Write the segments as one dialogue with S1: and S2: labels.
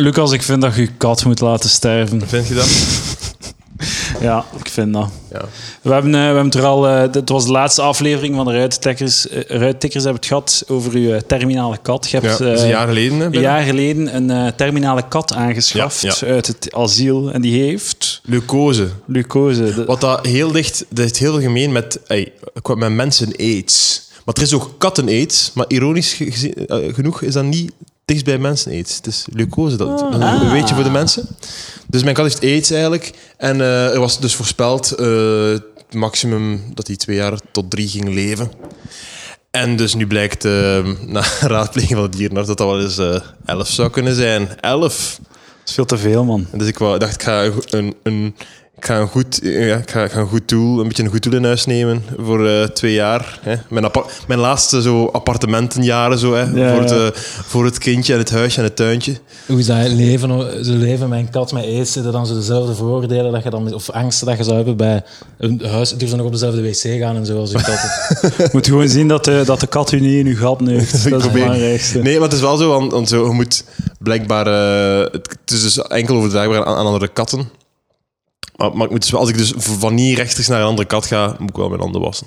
S1: Lucas, ik vind dat je je kat moet laten sterven.
S2: Vind je dat?
S1: Ja, ik vind dat.
S2: Ja.
S1: We hebben, eh, we hebben het er al... eh, dit was de laatste aflevering van de Ruittikkers. eh, Ruittikkers hebben het gehad over uw eh, terminale kat. Je
S2: ja.
S1: hebt
S2: Dat is
S1: eh,
S2: een jaar geleden. Hè,
S1: een
S2: bijna.
S1: jaar geleden een eh, terminale kat aangeschaft
S2: Ja,
S1: uit het asiel. En die heeft
S2: Leucose.
S1: glucose. De-
S2: Wat dat heel dicht, dat heeft heel veel gemeen met, ey, qua- met mensen aids. Maar er is ook katten aids, maar ironisch ge- gezien- eh, genoeg is dat niet dicht bij mensen aids. Het is leucose, dat, dat is een weetje voor de mensen. Dus mijn kat heeft aids eigenlijk. En eh, er was dus voorspeld eh, het maximum dat hij twee jaar tot drie ging leven. En dus nu blijkt eh, na raadpleging van de dierenarts dat dat wel eens eh, elf zou kunnen zijn. Elf!
S1: Dat is veel te veel, man.
S2: En Dus ik wou- dacht, ik ga een, go- een, een- ik ga een, goed, ja, ik ga, ik ga een goed doel, een beetje een goed doel in huis nemen voor eh, twee jaar. Hè. Mijn, appa- mijn laatste zo appartementenjaren zo, hè,
S1: Ja,
S2: voor, het,
S1: ja.
S2: eh, voor het kindje en het huisje en het tuintje.
S3: Hoe is dat het leven, ze leven met een kat met aids? Zitten dan zo dezelfde voordelen dat je dan, of angsten dat je zou hebben bij een huis? Durf dan nog op dezelfde wc gaan en zo als je kat.
S1: Je moet gewoon zien dat de, dat de kat u niet in uw gat neukt. Dat is het
S2: probeer-
S1: belangrijkste.
S2: Nee, maar het is wel zo, want, want zo, je moet blijkbaar... eh, het, het is dus enkel overdraagbaar aan, aan andere katten. Maar, maar ik moet dus wel- als ik dus v- van hier rechtstreeks naar een andere kat ga, moet ik wel mijn handen wassen.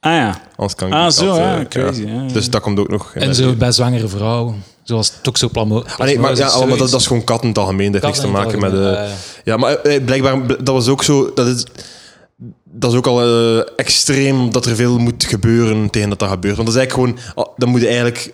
S1: Ah ja.
S2: Anders kan ik
S1: Ah,
S2: die
S1: zo,
S2: kat,
S1: ja,
S2: eh,
S1: crazy, ja, ja.
S2: Dus dat komt ook nog. in
S3: en
S2: mijn
S3: zo
S2: leven.
S3: bij zwangere vrouwen, zoals toxoplasmo.
S2: Ah, nee, maar, ja, maar dat, dat is gewoon katten in het algemeen. Dat heeft niks te maken met... eh, Ja, maar eh, blijkbaar, bl- dat was ook zo. Dat is, dat is ook al eh, extreem dat er veel moet gebeuren tegen dat dat gebeurt. Want dat is eigenlijk gewoon, ah, dan moet je eigenlijk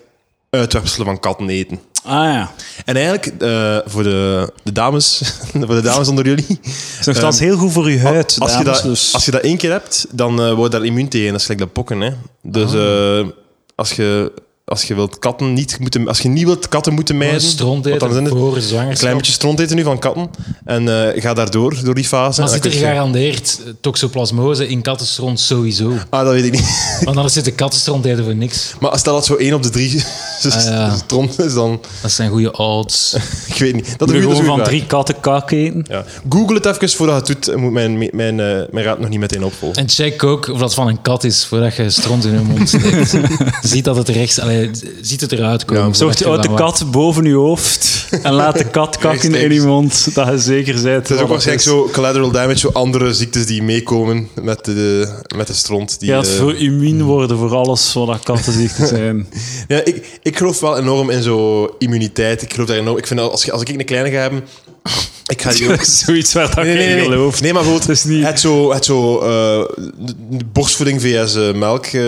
S2: uitwerpselen van katten eten.
S1: Ah ja.
S2: En eigenlijk, eh, voor, de, de dames, voor de dames onder jullie,
S1: Het Dus is nogthans heel goed voor uw huid,
S2: als, je
S1: dames,
S2: dat,
S1: dus.
S2: als je dat één keer hebt, dan eh word je daar immuun tegen. Dat is gelijk dat pokken. Hè. Dus
S3: Ah.
S2: eh, als je. Als je, wilt katten niet moeten, als je niet wilt katten moeten
S3: Gewoon
S2: mijden... want
S3: stront
S2: dan
S3: eten
S2: zijn het-
S3: voor
S2: een klein
S3: zwangerschap.
S2: beetje stront eten nu van katten. En eh, ga daardoor, door die fase.
S3: Maar
S2: En
S3: zit
S2: dan
S3: er
S2: kun je-
S3: gegarandeerd eh, toxoplasmose in kattenstront sowieso?
S2: Ah, dat weet ik niet.
S3: Want anders zit de kattenstront eten voor niks.
S2: Maar stel dat zo één op de drie
S3: Ah, ja.
S2: stront is, dan...
S3: Dat zijn goede odds.
S2: Ik weet niet. Dat
S1: Moet
S2: is
S1: je gewoon
S2: een goede
S1: van
S2: vraag.
S1: drie katten kak eten.
S2: Ja. Google het even voordat je het doet. Moet Mijn, mijn, mijn, eh, mijn raad nog niet meteen opvolgen.
S3: En check ook of dat van een kat is voordat je stront in hun mond steekt. ziet dat het er rechts, allee, ziet het eruit komen.
S2: Ja, oh,
S3: voordat
S1: Zorg
S3: je
S1: uit de
S3: dat maakt.
S1: kat boven uw hoofd en laat de kat kakken in uw mond, dat je zeker bent.
S2: Het is ook waarschijnlijk zo collateral damage, zo andere ziektes die meekomen met de, met de stront. Die,
S1: Je gaat
S2: eh,
S1: voor immuun worden voor alles wat dat kattenziekten zijn.
S2: Ja, ik, ik geloof wel enorm in zo immuniteit. Ik geloof daar enorm... Ik vind dat als, je- als ik een kleine ga hebben... Ik ga die ook...
S1: Zoiets waar dat
S2: Nee, nee,
S1: geen
S2: nee, nee.
S1: gelooft.
S2: nee maar bijvoorbeeld,
S1: Het is niet-
S2: het zo, het zo eh, de- de borstvoeding vs eh, melk eh,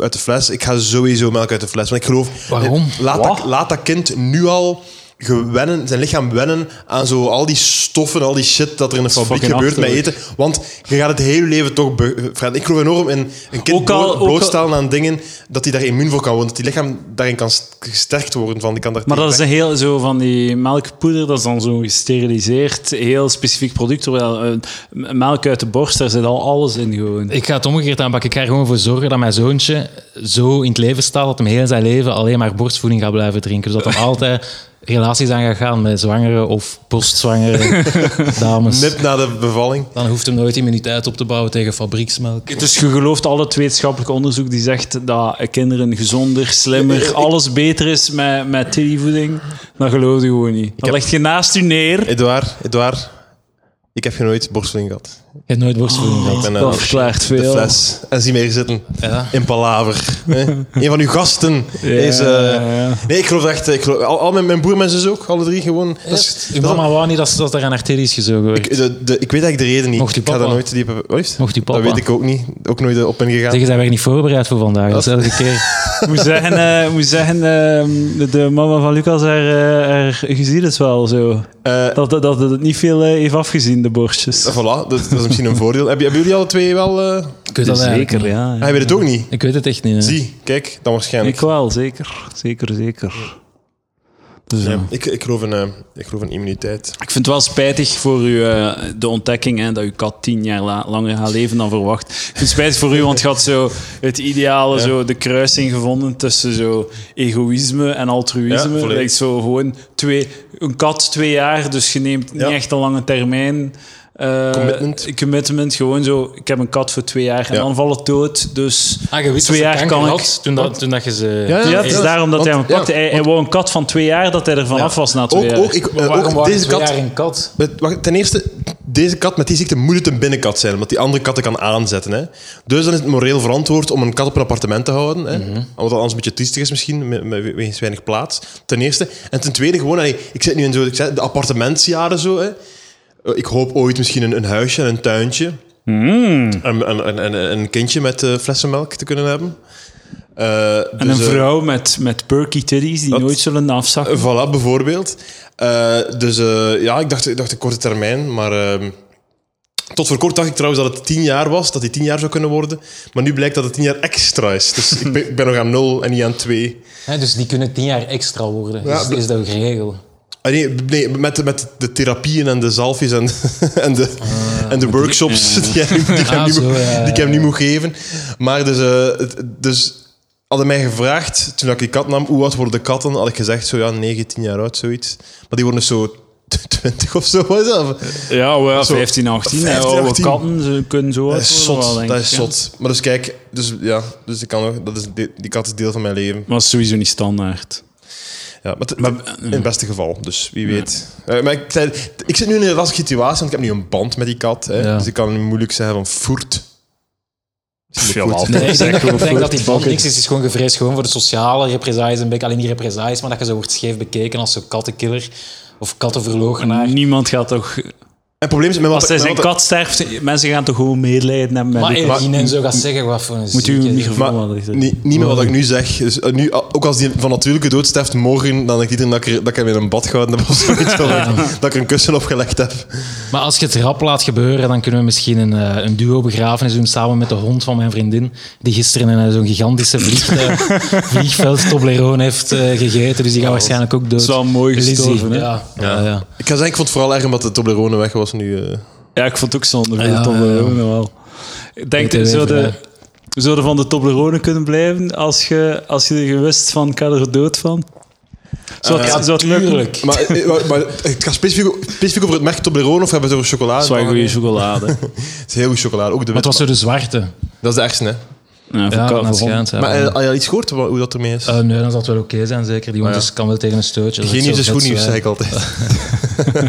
S2: uit de fles. Ik ga sowieso melk uit de fles, want ik geloof...
S3: Waarom?
S2: Eh, Laat dat,
S1: Wat?
S2: laat dat kind nu al gewennen, zijn lichaam wennen aan zo al die stoffen, al die shit dat er in de fabriek
S1: fucking
S2: gebeurt met
S1: achterlijk.
S2: eten. Want je gaat het hele leven toch... be- Fred, Ik geloof enorm in een kind
S1: Ook al-
S2: bloot-
S1: ook al-
S2: blootstellen aan dingen dat hij daar immuun voor kan worden. Dat die lichaam daarin kan st- gesterkt worden. Van, die kan daar
S1: Maar dat is
S2: tegen
S1: een heel zo van die melkpoeder, dat is dan zo gesteriliseerd, heel specifiek product. Terwijl eh, m- melk uit de borst, daar zit al alles in gewoon.
S3: Ik ga het omgekeerd aanpakken. Ik ga er gewoon voor zorgen dat mijn zoontje zo in het leven staat dat hem heel zijn leven alleen maar borstvoeding gaat blijven drinken. Dus dat hij altijd relaties aan gaat gaan met zwangere of postzwangere dames.
S2: Nip na de bevalling.
S3: Dan hoeft hem nooit immuniteit op te bouwen tegen fabrieksmelk.
S1: Dus je gelooft al het wetenschappelijk onderzoek die zegt dat eh, kinderen gezonder,
S2: Eh,
S1: slimmer,
S2: ik-
S1: alles beter is met, met tillyvoeding. Dat geloof je gewoon niet. Dat
S2: heb-
S1: legt je naast u neer.
S2: Edouard, Edouard, ik heb je nooit borstvoeding gehad.
S3: Je hebt nooit borstvoeding gehad.
S2: Ik ben,
S1: Dat
S2: eh,
S1: verklaart
S2: de
S1: veel.
S2: fles. En zie mij hier zitten.
S3: Ja.
S2: In palaver. hè. een van uw gasten is... eh,
S1: ja.
S2: Nee, ik geloof echt... Ik geloof, al, al mijn, mijn broer en mijn zus ook, alle drie gewoon. Dat is,
S3: Uw
S2: dat is-
S3: mama wou niet dat, ze- dat er aan arterie is gezogen werd.
S2: ik, de, de- ik weet eigenlijk de reden niet.
S3: Mocht uw
S2: ik ga
S3: papa?
S2: daar nooit diep... Wat is het?
S3: Mocht uw papa?
S2: Dat weet ik ook niet. Ook nooit eh, op ingegaan.
S3: Zeg, zijn wij niet voorbereid voor vandaag? Dat is elke keer.
S1: Ik moet zeggen, eh, ik moet zeggen eh, de mama van Lucas, haar, eh, haar gezien het wel zo.
S2: Eh,
S1: Dat, dat, dat het niet veel eh, heeft afgezien, de borstjes.
S2: Voilà, dat, dat is misschien een voordeel. Hebben, hebben jullie alle twee wel... eh
S3: Ik weet dat eigenlijk niet.
S1: ja.
S2: Hij weet het ook niet.
S3: Ik weet het echt niet. hè.
S2: Zie, kijk, dan waarschijnlijk.
S1: Ik wel, zeker. Zeker, zeker. Dus, eh,
S2: Ja, ik, ik, geloof in, eh, ik geloof in immuniteit.
S1: Ik vind het wel spijtig voor u, eh, de ontdekking hè, dat uw kat tien jaar la- langer gaat leven dan verwacht. Ik vind het spijtig voor u, want je had zo het ideale,
S2: Ja.
S1: zo de kruising gevonden tussen zo egoïsme en
S2: Ja,
S1: altruïsme.
S2: volledig.
S1: Lijkt zo gewoon twee, een kat twee jaar, dus je neemt
S2: Ja.
S1: niet echt een lange termijn. eh,
S2: Commitment.
S1: commitment, gewoon zo, ik heb een kat voor twee jaar en
S2: Ja.
S1: dan valt het dood. Dus
S3: Ah, je wist
S1: twee
S3: dat ze
S1: jaar
S3: kanker
S1: kan ik...
S3: had toen dat, toen dat je ze...
S2: Ah, Ja,
S1: Ja, het is
S2: Ja,
S1: daarom dat hij hem
S2: want-
S1: pakte.
S2: ja,
S1: hij, hij wou een kat van twee jaar dat hij er vanaf af was na twee
S2: Ook,
S1: jaar.
S2: ook, ik, eh,
S3: Maar
S2: ook
S3: waarom
S2: deze kat.
S3: een kat?
S2: Met- wacht, ten eerste, deze kat met die ziekte moet het een binnenkat zijn, omdat die andere katten kan aanzetten. Hè. Dus dan is het moreel verantwoord om een kat op een appartement te houden. Hè.
S1: Mhm.
S2: Omdat dat anders een beetje triestig is misschien, met, met, wegens weinig plaats. Ten eerste. En ten tweede, gewoon, hey, ik zit nu in zo, ik zei, de appartementsjaren zo. Hè. Eh, Ik hoop ooit misschien een, een huisje en een tuintje.
S1: Mm.
S2: En, en, en, en een kindje met eh, flessenmelk te kunnen hebben. Eh,
S1: En
S2: dus,
S1: een
S2: eh,
S1: vrouw met, met perky titties die
S2: dat-
S1: nooit zullen afzakken.
S2: Eh, Voilà, bijvoorbeeld. Eh, dus eh, ja, ik dacht, ik dacht een korte termijn, maar... ehm, tot voor kort dacht ik trouwens dat het tien jaar was, dat die tien jaar zou kunnen worden. Maar nu blijkt dat het tien jaar extra is. Dus ik ben, ik ben nog aan nul en niet aan twee.
S3: Ja, dus die kunnen tien jaar extra worden. is,
S2: bl-
S3: is dat ook geregeld?
S2: Ah, nee, nee met, de- met de therapieën en de zalfjes en, en de, en de workshops die, hij nu- die ik hem
S3: Ah,
S2: nu
S3: zo,
S2: moet-
S3: ja,
S2: die ik hem nu moet geven. Maar dus, eh, het- dus hadden mij gevraagd, toen ik die kat nam, hoe oud worden de katten? Had ik gezegd, zo ja, 19 jaar oud, zoiets. Maar die worden dus zo 20 of zo. Wat is dat?
S1: Ja, wel,
S2: Zo,
S1: 15, 18.
S2: 15,
S1: oude
S2: 18.
S1: katten ze kunnen zo
S2: Dat
S1: oud
S2: is
S1: worden wel,
S2: zot.
S1: denk
S2: Dat
S1: ik,
S2: is
S1: ja.
S2: zot. Maar dus kijk, dus, ja, dus ik kan, nog- dat is, die, die kat is deel van mijn leven.
S1: Maar dat is sowieso niet standaard.
S2: Ja, maar t- in het beste geval, dus wie weet. Eh, maar ik, zei- ik zit nu in een lastige situatie, want ik heb nu een band met die kat. Hè,
S3: Ja.
S2: Dus ik kan nu moeilijk zeggen van voert.
S1: Veel altijd.
S3: Nee, ik
S1: Zeg
S3: denk, dat-
S1: gewoon
S3: ik denk dat die band
S1: fucking-
S3: niks is. Het is gewoon gevreesd gewoon voor de sociale represailles. Een beetje, alleen niet represailles, maar dat je zo wordt scheef bekeken als zo'n kattenkiller of kattenverloochenaar.
S1: Niemand gaat toch...
S2: En het probleem is... Met wat,
S1: Als hij
S2: met
S1: zijn
S2: wat-
S1: kat sterft, mensen gaan toch gewoon medelijden hebben met
S3: Maar nou-
S1: die kat?
S3: Elgin en zo gaat zeggen, wat voor een
S1: Moet u
S3: zieke-
S1: een microfoon
S2: maar
S1: laten zitten?
S2: niet, niet meer wat ik nu zeg. Dus, eh, nu, a- ook als die van natuurlijke dood sterft morgen, dan denk ik niet dat ik, er- dat ik hem in een bad gehouden heb of zoiets. of dat ik- Dat ik er een kussen opgelegd heb.
S3: Maar als je het rap laat gebeuren, dan kunnen we misschien een, eh, een duo begrafenis doen samen met de hond van mijn vriendin, die gisteren in eh, zo'n gigantische vliegtuig, vliegveld Toblerone heeft eh, gegeten. Dus die gaat waarschijnlijk ook dood.
S1: is wel mooi
S3: Lizzie,
S1: gestorven, hè?
S3: Ja, ja. ja.
S2: Ik ga zeggen, ik vond het vooral erg omdat de Toblerone weg was nu. eh.
S1: Ja, ik vond het ook zonde van
S3: Ja,
S1: de Toblerone wel. Ik denk,
S3: BTW
S1: zo de,
S3: vrij.
S1: zou van de Toblerone kunnen blijven als je, als je er gewist van, ik ga er dood van? Zou het,
S2: Eh,
S1: zou het lukken?
S3: tuurlijk.
S2: Maar, eh, maar, maar het gaat specifiek, specifiek over het merk Toblerone of hebben we het over chocolade?
S1: Zwaar goede chocolade.
S2: Het is heel goed chocolade, ook de
S3: Maar het
S2: witte.
S3: was zo de zwarte.
S2: Dat is de ergste, hè?
S1: Ja, voor
S3: Ja,
S1: kat-
S3: naar het
S1: voor hond.
S3: schijnt, ja.
S2: Maar eh, had je al iets gehoord wa- hoe dat ermee is?
S3: Eh, nee, dan zal het wel oké zijn, zeker. Die hond
S2: ja.
S3: is- kan wel tegen een stootje. dat
S2: Geen
S3: is
S2: nieuws
S3: zo-
S2: is
S3: dat
S2: goed
S3: is
S2: nieuws,
S3: waar.
S2: zeg ik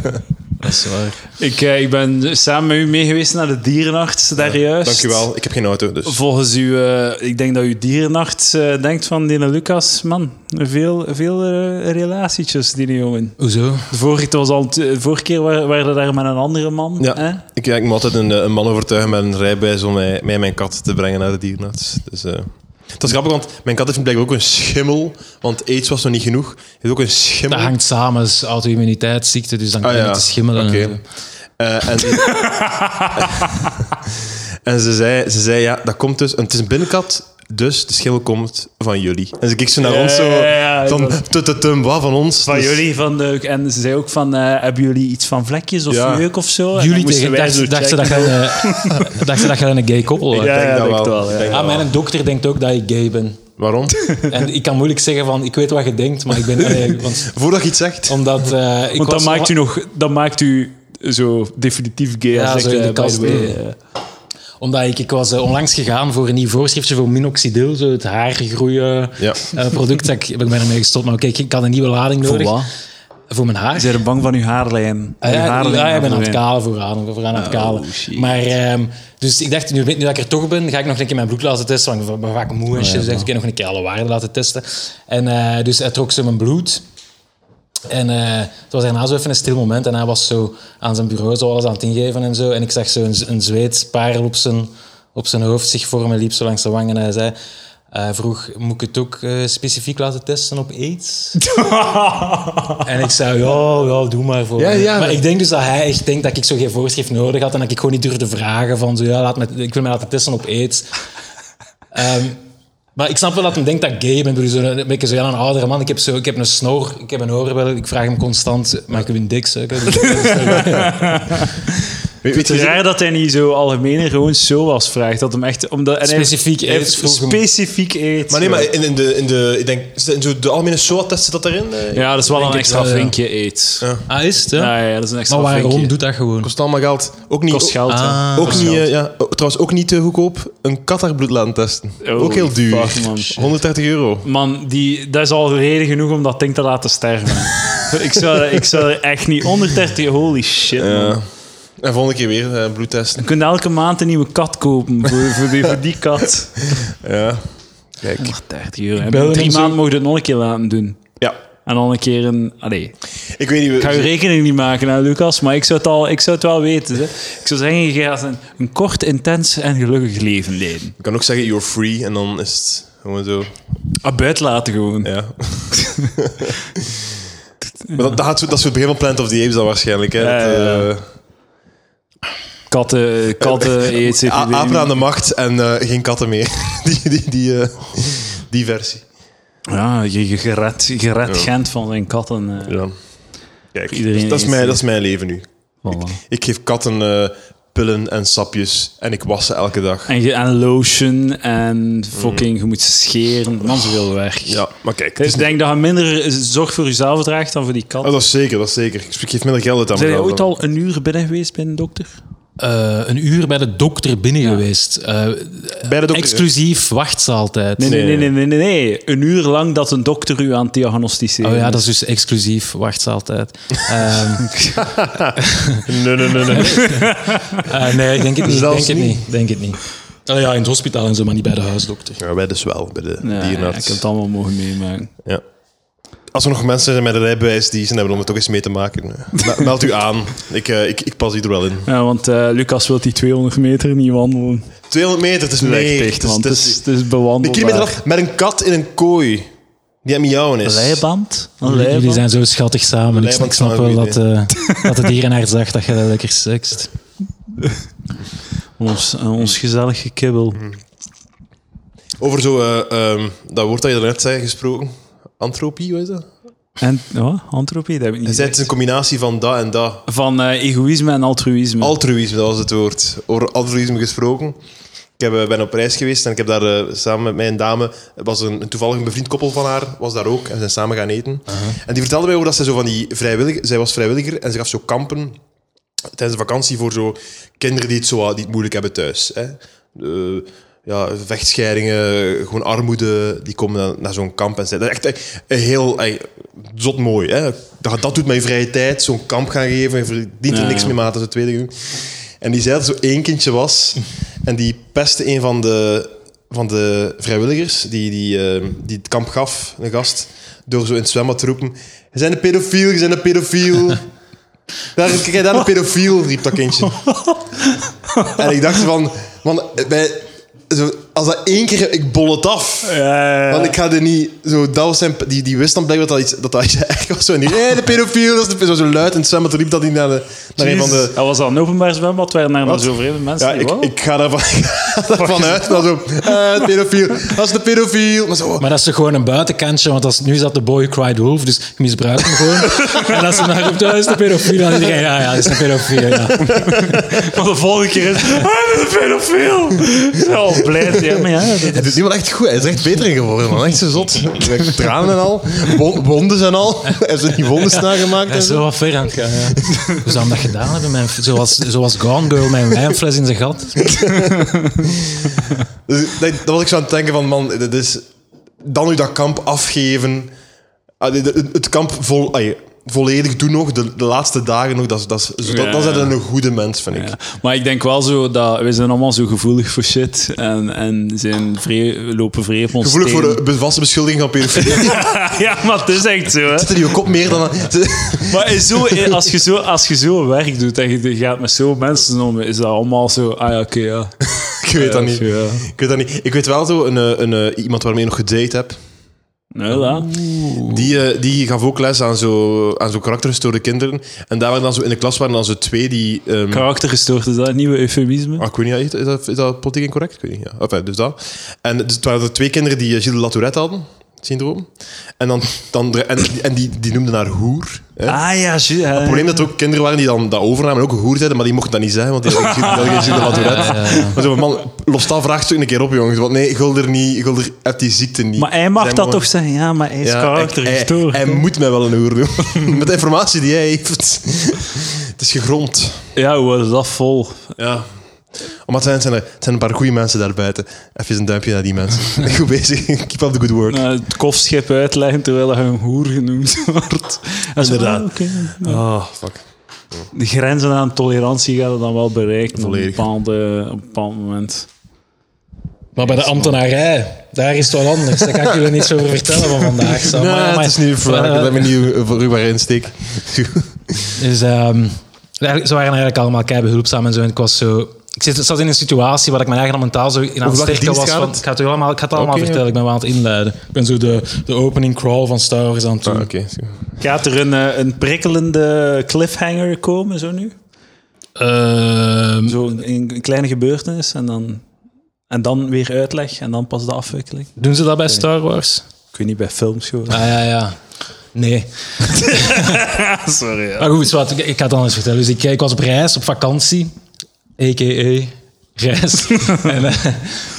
S2: altijd.
S3: Dat is waar.
S1: ik, eh, ik ben samen met u mee geweest naar de dierenarts daar juist.
S2: Dankjewel, ik heb geen auto, dus...
S1: Volgens u, eh, ik denk dat uw dierenarts eh, denkt van die Lucas, man, veel, veel eh, relatietjes die jongen.
S3: Hoezo?
S1: De vorige, het was al, de vorige keer wa- waren we daar met een andere man.
S2: Ja,
S1: hè?
S2: ik, ja, ik moet altijd een, eh, een man overtuigen met een rijbewijs om mij, mij en mijn kat te brengen naar de dierenarts. Dus, eh, dat is grappig, want mijn kat heeft blijkbaar ook een schimmel, want aids was nog niet genoeg. Hij heeft ook een schimmel.
S3: Dat hangt samen, is auto-immuniteitsziekte, dus dan kan
S2: Ah,
S3: je
S2: ja.
S3: te schimmelen.
S2: Oké.
S3: en zo.
S2: Eh, en en ze, zei, ze zei, ja, dat komt dus... En het is een binnenkat, dus de schimmel komt van jullie. En ze keek zo naar
S1: Ja,
S2: ons, zo...
S1: ja, ja, ja,
S2: van,
S1: dat-
S2: tututum, wat van ons?
S1: Van
S2: Dus-
S1: jullie, van de, en ze zei ook van, eh, hebben jullie iets van vlekjes of
S2: Ja.
S1: jeuk of zo? En dan
S3: Jullie
S1: moesten
S3: tegen,
S1: wij zo
S3: dacht, dacht, ze dat
S1: checken.
S3: je een, dacht ze dat je een gay koppel was.
S1: Ja,
S2: denk
S1: ja,
S2: dat
S1: dat
S2: wel.
S1: wel. ja.
S2: Denk
S3: Ah, mijn dokter denkt ook dat ik gay ben.
S2: Waarom?
S3: En ik kan moeilijk zeggen van, ik weet wat je denkt, maar ik ben... allee, want,
S2: Voordat je iets zegt...
S3: omdat, eh, ik
S1: Want
S3: was
S1: dan maakt u
S3: nog-
S1: nog, dan maakt u zo definitief gay.
S3: Ja,
S1: als
S3: zo
S1: ik,
S3: in de
S1: eh, by
S3: kast,
S1: the way,
S3: nee.
S1: eh,
S3: Omdat ik, ik was eh, onlangs gegaan voor een nieuw voorschriftje voor minoxidil, zo het haargroeien
S2: Ja.
S3: eh, product. Dat ik, ik ben ermee gestopt, maar oké, ik- ik had een nieuwe lading
S1: Voor
S3: nodig.
S1: wat?
S3: Voor mijn haar.
S1: Zijn er bang van uw haarlijn?
S3: Ah,
S1: Uw
S3: ja,
S1: haarlijn
S3: ja, ik ben aan het
S1: aflijn.
S3: kalen vooraan. vooraan aan het kalen.
S1: shit.
S3: maar, ehm, dus ik dacht, nu, nu dat ik er toch ben, ga ik nog een keer mijn broek laten testen. Want ik ben vaak moe en shit. Dus ik dacht, ik heb nog een keer alle waarden laten testen. En eh, dus hij trok ze mijn bloed. En eh, het was daarna zo even een stil moment. En hij was zo aan zijn bureau zo alles aan het ingeven en zo. En ik zag zo een, een zweetparel op zijn, op zijn hoofd zich vormen, liep zo langs zijn wang. En hij zei... eh, vroeg, moet ik het ook eh, specifiek laten testen op aids? En ik zei, ja, ja doe maar voor.
S2: Ja, ja.
S3: maar ik denk dus dat hij echt denkt dat ik zo geen voorschrift nodig had en dat ik gewoon niet durfde vragen van zo, ja, laat me, ik wil me laten testen op aids. Ehm, maar ik snap wel dat hij denkt dat ik gay ben. Ik bedoel, zo een, een beetje zo, ja, een oudere man. Ik heb, zo, ik heb een snor, ik heb een oorbel. Ik vraag hem constant, mag ik een dik suiken?
S1: Weet,
S2: weet
S1: het
S2: je-
S1: is raar dat hij niet zo algemeen gewoon zo was vraagt. Dat hem echt... Omdat, en hij-
S3: Specifiek
S1: hij heeft
S3: AIDS vroeg hem.
S1: Specifiek AIDS.
S2: Maar nee, maar in, in de, in de, ik denk, in zo de algemene SOA-test zit dat erin. eh?
S1: Ja, dat is wel een
S3: het
S1: extra
S3: wel, ja.
S1: vinkje AIDS. Ja.
S3: Ah, is het? Ja?
S1: Ja, dat is een extra
S3: maar waarom
S1: vinkje.
S3: doet dat gewoon?
S2: Kost allemaal geld. Ook niet,
S1: Kost geld, hè.
S3: Ah.
S2: Ook
S1: Kost
S2: niet,
S1: geld.
S2: eh, ja, oh, trouwens, ook niet te goedkoop. Een Qatar-bloed laten testen.
S1: Oh,
S2: ook heel duur.
S1: fuck, man.
S2: 130 euro.
S1: Man, die, dat is al reden genoeg om dat ding te laten sterven. ik, zou, ik zou er echt niet... 130, holy shit, man.
S2: Ja. En volgende keer weer eh, bloed testen.
S1: Je kunt elke maand een nieuwe kat kopen voor, voor, die, voor die kat.
S2: Ja. Kijk.
S1: 130 euro. En
S3: bel
S1: binnen
S3: hem
S1: drie
S3: zo.
S1: maanden mocht je het nog een keer laten doen.
S2: Ja.
S1: En dan een keer een... Allee,
S2: Ik weet niet... we-
S1: ik ga je rekening niet maken, hè, Lucas, maar ik zou het, al, ik zou het wel weten. Hè. Ik zou zeggen, je gaat een, een kort, intens en gelukkig leven leiden.
S2: Ik kan ook zeggen, you're free. En dan is het gewoon zo.
S1: Ah, buiten laten gewoon.
S2: Ja. maar dat, dat, gaat zo- dat is zo het begin van Planet of the Apes dan waarschijnlijk. Hè?
S1: Ja,
S2: Dat,
S1: ja, ja.
S2: eh,
S1: Katten, katten, aids,
S2: a-
S1: epidemie.
S2: apen aan de macht en eh, geen katten meer. die, die, die, eh, die versie.
S1: Ja, je, je gered, je redt Gent van zijn katten. eh.
S2: Ja. Kijk, dus
S1: Iedereen
S2: dat, dat is
S1: is-
S2: mijn, dat is mijn leven nu.
S1: Voilà.
S2: Ik geef katten eh, pillen en sapjes en ik was ze elke dag.
S1: En, je, en lotion en fucking, je moet scheren. Man, zoveel werk.
S2: Mm. Ja, maar kijk, het
S1: Dus
S2: is
S1: ik
S2: niet-
S1: denk dat je minder zorg voor jezelf draagt dan voor die kat.
S2: Oh, dat is zeker, dat is zeker. Ik geef minder geld uit aan
S1: Zijn jij
S2: mezelf
S1: ooit al
S2: dan.
S1: een uur binnen geweest bij een dokter?
S3: Eh, een uur bij de dokter binnen geweest. Eh,
S2: Bij de dokter.
S3: exclusief wachtzaaltijd.
S1: Nee, nee,
S2: Nee.
S1: nee, nee, nee, nee, nee. Een uur lang dat een dokter u aan het diagnosticeren
S3: Oh ja, dat is
S1: is.
S3: dus exclusief wachtzaaltijd. Ehm
S2: Nee, nee, nee. nee.
S3: eh, nee, ik denk het niet.
S2: Zelfs
S3: Denk het
S2: niet.
S3: niet. Denk het niet. Allee, ja, in het hospitaal en zo, maar niet bij de huisdokter.
S2: Ja, wij dus wel, bij de
S1: Ja, ja, ik
S2: dierenarts.
S1: heb het allemaal mogen meemaken.
S2: Ja. Als er nog mensen zijn met een rijbewijs die zin hebben om het ook eens mee te maken, eh, me- meld u aan. Ik, eh, ik, ik pas die er wel in.
S1: Ja, want eh, Lucas wil die 200 meter niet wandelen.
S2: 200 meter, het is
S1: Lijkt
S2: leeg. Het
S1: echt,
S2: is,
S1: want
S2: dus het is,
S1: het is
S2: een
S1: bewandeld.
S2: kilometer af met een kat in een kooi die aan miauwen is.
S1: Leiband? Een
S3: Jullie- Jullie
S1: leiband?
S3: zijn zo schattig samen. Ik,
S2: Leiband
S3: ik snap
S2: samen,
S3: wel
S2: goed
S3: dat, eh, dat de dierenarts dacht dat je dat lekker sekst.
S1: Ons, eh,
S2: Mm.
S1: ons gezellig gekibbel.
S2: Over zo, eh, ehm, dat woord dat je daarnet zei gesproken. Antropie, wat is dat?
S1: En oh, antropie, dat heb ik
S2: Hij
S1: niet
S2: zei het is een combinatie van dat en dat.
S1: Van eh, egoïsme en altruïsme.
S2: Altruïsme, dat was het woord. Over altruïsme gesproken. Ik heb, eh, ben op reis geweest en ik heb daar eh, samen met mijn dame... was een, een toevallig een bevriend koppel van haar, was daar ook. En we zijn samen gaan eten. En die vertelde mij over dat zij zo van die vrijwilliger... Zij was vrijwilliger en ze gaf zo kampen tijdens de vakantie voor zo kinderen die het, zo, wat- die het moeilijk hebben thuis. Hè. Eh, ja, vechtscheidingen, gewoon armoede, die komen dan naar zo'n kamp. En zij, dat is echt eh, een heel eh, zot mooi. Hè. Dat, je dat doet mijn vrije tijd, zo'n kamp gaan geven. Je verdient er
S1: Ja,
S2: niks
S1: ja.
S2: mee, maat, dat is het tweede ding. En die zei dat er zo één kindje was. En die pestte een van de, van de vrijwilligers die, die, eh, die het kamp gaf, een gast, door zo in het zwembad te roepen... Je bent een pedofiel, je bent een pedofiel. Daar, kijk, daar een pedofiel, riep dat kindje. en ik dacht van, man, bij, zo, als dat één keer, ik bol het af.
S1: Ja, ja,
S2: Want ik ga er niet, zo, dat was zijn, die, die wist dan blijkbaar dat dat iets, dat, dat iets erg was. Zo, en die, hey, de pedofiel, dat is de, zo, zo luid en het zwembad riep dat hij naar, de, naar een van de...
S1: Dat was al een openbaar zwembad, waar naar
S2: Wat?
S1: zo vreemde mensen.
S2: Ja,
S1: die-
S2: ik,
S1: wow.
S2: ik ga daarvan, ik ga daarvan uit. Dat zo, eh, de pedofiel, dat is de pedofiel. Maar zo,
S3: Maar dat is toch gewoon een buitenkantje, want als, nu zat de boy cried wolf, dus je misbruikt hem gewoon. en als ze dan roept, dat is een pedofiel, dan iedereen, ja, ja, dat is een pedofiel, ja.
S1: Maar de volgende keer is... Hij is een pedofiel! Ik ben al blij te zijn, maar ja, dat-
S2: Hij doet die wel echt goed. Hij is er echt beter in geworden, man. Echt zo zot. Echt Tranen en al. Won- wonden zijn al. Hij heeft er die wonden nagemaakt.
S3: Hij
S2: en
S3: is zo
S2: zo.
S3: wat ver aan het gaan, ja. We zouden dat gedaan hebben, met een- zoals, zoals Gone Girl met een wijnfles in zijn gat.
S2: Dus dat, dat was ik zo aan het denken van, man, dit is... Dan nu dat kamp afgeven. Ah, dit- Het het kamp vol, ai, volledig doen nog. De, de laatste dagen nog. Dat, is- dat, is- dat,
S1: Ja,
S2: dan zijn
S1: ja.
S2: ze een goede mens, vind ik.
S1: Ja, maar ik denk wel zo dat we zijn allemaal zo gevoelig voor shit en, en zijn vrij, lopen vrij op ons
S2: Gevoelig voor
S1: tenen.
S2: de be- vaste beschuldiging van pedofilie. Zitten
S1: ja, maar het is echt zo. Hè.
S2: die ook op meer dan...
S1: Maar is zo, eh, als, je zo, als je zo werk doet en je gaat met zo'n mensen om, is dat allemaal zo. Ah ja, oké, ja.
S2: Ik weet dat
S1: Ja,
S2: niet.
S1: ja.
S2: Ik weet dat niet. Ik weet wel zo een, eh, een, eh, iemand waarmee ik nog gedate heb.
S1: Nou, dat.
S2: Die, eh, die gaf ook les aan zo'n aan zo karaktergestoorde kinderen. En daar waren dan zo, in de klas waren dan zo twee die... ehm,
S1: Karaktergestoord, is dat een nieuwe eufemisme?
S2: ah, ik weet niet, is dat, is dat politiek incorrect? Ik weet niet. Ja. Enfin, dus dat. En dus het waren er twee kinderen die eh, Gilles Latourette hadden. syndroom. En, dan, dan, en, en die, die noemden haar hoer. Hè?
S1: Ah ja, juist.
S2: Het probleem dat er ook kinderen waren die dan dat overnamen en ook hoer zeiden, maar die mochten dat niet zeggen, want die hadden geen die hadden geen zin in wat Tourette. Maar zo, man, los dat vraagt zo een keer op, jongens. Want nee, Gulder niet, Gulder heeft die ziekte niet.
S1: Maar hij mag
S2: Zij
S1: dat
S2: mogen-
S1: toch zeggen? Ja, maar hij is
S2: Ja,
S1: karakter
S2: hij- hij-
S1: gestoord.
S2: Hij, moet mij wel een hoer doen. Met de informatie die hij heeft. Het is gegrond.
S1: Ja, we worden dat vol.
S2: Ja. Omdat zijn, zijn er het zijn een paar goede mensen daarbuiten. Even een duimpje naar die mensen. Goed bezig. Keep up the good work.
S1: Eh, het kofschip uitleggen terwijl hij een hoer genoemd wordt. En zo,
S2: Inderdaad.
S1: ah, oké.
S2: Oh, fuck.
S1: De grenzen aan tolerantie gaan we dan wel bereiken
S2: Volledig.
S1: op, een bepaalde, op een bepaald moment.
S3: Maar bij de ambtenarij, daar is het wel anders. Daar kan ik jullie niets over vertellen van vandaag. Sam.
S2: Nee,
S3: Maar ja, maar-
S2: het is niet voor
S3: Eh,
S2: dat we niet voor u maar insteek.
S3: Dus ehm, eigenlijk- ze waren eigenlijk allemaal kei behulpzaam en zo. En ik was zo. Ik zit- zat in een situatie waar ik mijn eigen mentaal zo in aan
S2: welke
S3: het sterken
S2: dienst
S3: was.
S2: gaat
S3: Van,
S2: het?
S3: ik ga het u allemaal, ik ga het allemaal
S2: Oké,
S3: vertellen. Ik ben wel aan het inleiden. Ik ben zo de, de opening crawl van Star Wars aan het doen.
S2: Ah, Oké.
S1: Gaat er een, eh, een prikkelende cliffhanger komen, zo nu?
S3: Ehm,
S1: Zo een, een kleine gebeurtenis en dan, en dan weer uitleg en dan pas de afwikkeling.
S3: doen ze dat bij Star Wars?
S1: Ik weet niet, bij films gewoon.
S3: Ah ja, ja. Nee.
S1: sorry.
S3: Maar goed, zwart, ik, ik ga het anders vertellen. Dus ik, ik was op reis, op vakantie. A.k.a. reis. en, eh,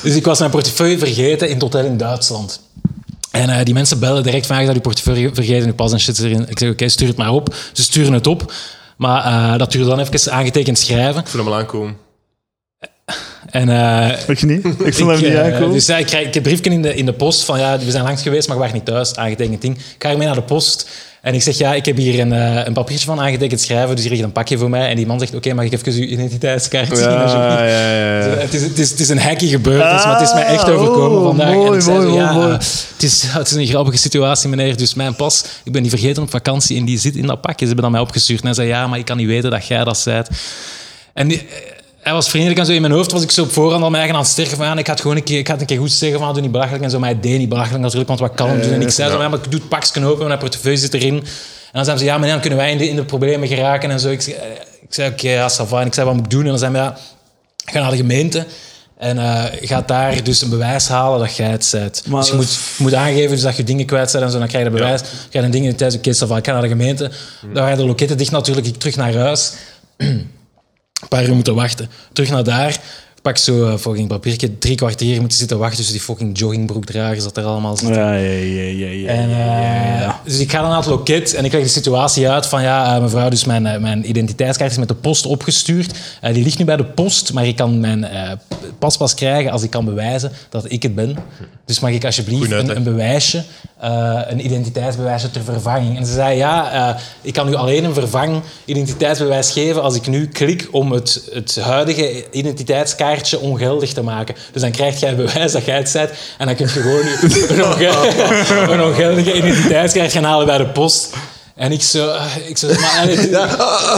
S3: dus ik was mijn portefeuille vergeten in het hotel in Duitsland. En eh, die mensen bellen direct van, "Ah, je dat je portefeuille vergeten, je pas en shit zit erin. Ik zeg, oké, stuur het maar op. Ze sturen het op. Maar eh, dat duurde dan even aangetekend schrijven.
S2: Ik voel hem al aankomen.
S3: En eh,
S1: Ik niet. Ik
S3: ik, eh, Dus ja, ik krijg ik heb briefje in de, in de post van ja, we zijn langs geweest, maar we waren niet thuis, aangetekend ding. Ik ga ermee naar de post en ik zeg ja, ik heb hier een, eh, een papiertje van aangetekend schrijven, dus hier ligt een pakje voor mij. En die man zegt oké, mag ik even uw identiteitskaart zien? alsjeblieft?"
S2: Ja, ja, ja. ja.
S3: eh, Het is, het, is, het is een hekkie gebeurd, maar het is mij echt
S1: Ah,
S3: overkomen
S1: oh,
S3: vandaag.
S1: mooi,
S3: en ik zei
S1: mooi,
S3: zo,
S1: mooi,
S3: ja,
S1: mooi.
S3: eh, Het, is, het is een grappige situatie, meneer. Dus mijn pas, ik ben die vergeten op vakantie en die zit in dat pakje. Ze hebben dat mij opgestuurd. En hij zei, ja, maar ik kan niet weten dat jij dat zijt. En die- eh, hij was vriendelijk en zo. In mijn hoofd was ik zo op voorhand al mijn eigen aan het sterken van, ja, ik ga het gewoon een keer, ik ga het een keer goed zeggen van, ah, doe niet belachelijk en zo. Maar hij deed niet belachelijk natuurlijk, want wat kan hem doen? En ik zei zo, ja, maar ik doe het pakje open, mijn portefeuille zit erin. En dan zeiden ze, ja, meneer, dan kunnen wij in de, in de problemen geraken en zo. Ik, zei- eh, ik zei, oké, ja, ça va. En ik zei, wat moet ik doen? En dan zei hij, ja, ga naar de gemeente en eh gaat daar dus een bewijs halen dat jij het bent.
S1: Maar
S3: dus je
S1: dat-
S3: moet, je moet aangeven dus dat je dingen kwijt bent en zo, dan krijg je dat bewijs. Ga je dan dingen in de tijd, oké, ça va, ik ga naar de gemeente. Dan ga je de loketten dicht natuurlijk, ik terug naar huis. een paar uur moeten wachten. Terug naar daar, pak zo eh, fucking papiertje, drie kwartier moeten zitten wachten tussen die fucking joggingbroekdragers dat er allemaal zitten.
S1: Ja, ja, ja, ja, ja.
S3: En, eh, Dus ik ga dan naar het loket en ik leg de situatie uit van ja, eh, mevrouw, dus mijn, eh, mijn identiteitskaart is met de post opgestuurd. Eh, die ligt nu bij de post, maar ik kan mijn eh, pas pas krijgen als ik kan bewijzen dat ik het ben. Dus mag ik alsjeblieft
S2: Goeie
S3: een,
S2: uitleg.
S3: een bewijsje, eh, een identiteitsbewijsje ter vervanging? En ze zei ja, eh, ik kan u alleen een vervang identiteitsbewijs geven als ik nu klik om het, het huidige identiteitskaartje ongeldig te maken. Dus dan krijg jij bewijs dat jij het bent en dan kun je gewoon je- een onge- een ongeldige identiteitskaart gaan halen bij de post. En ik zo, eh, ik zo, maar, eh, dit-
S2: Ah.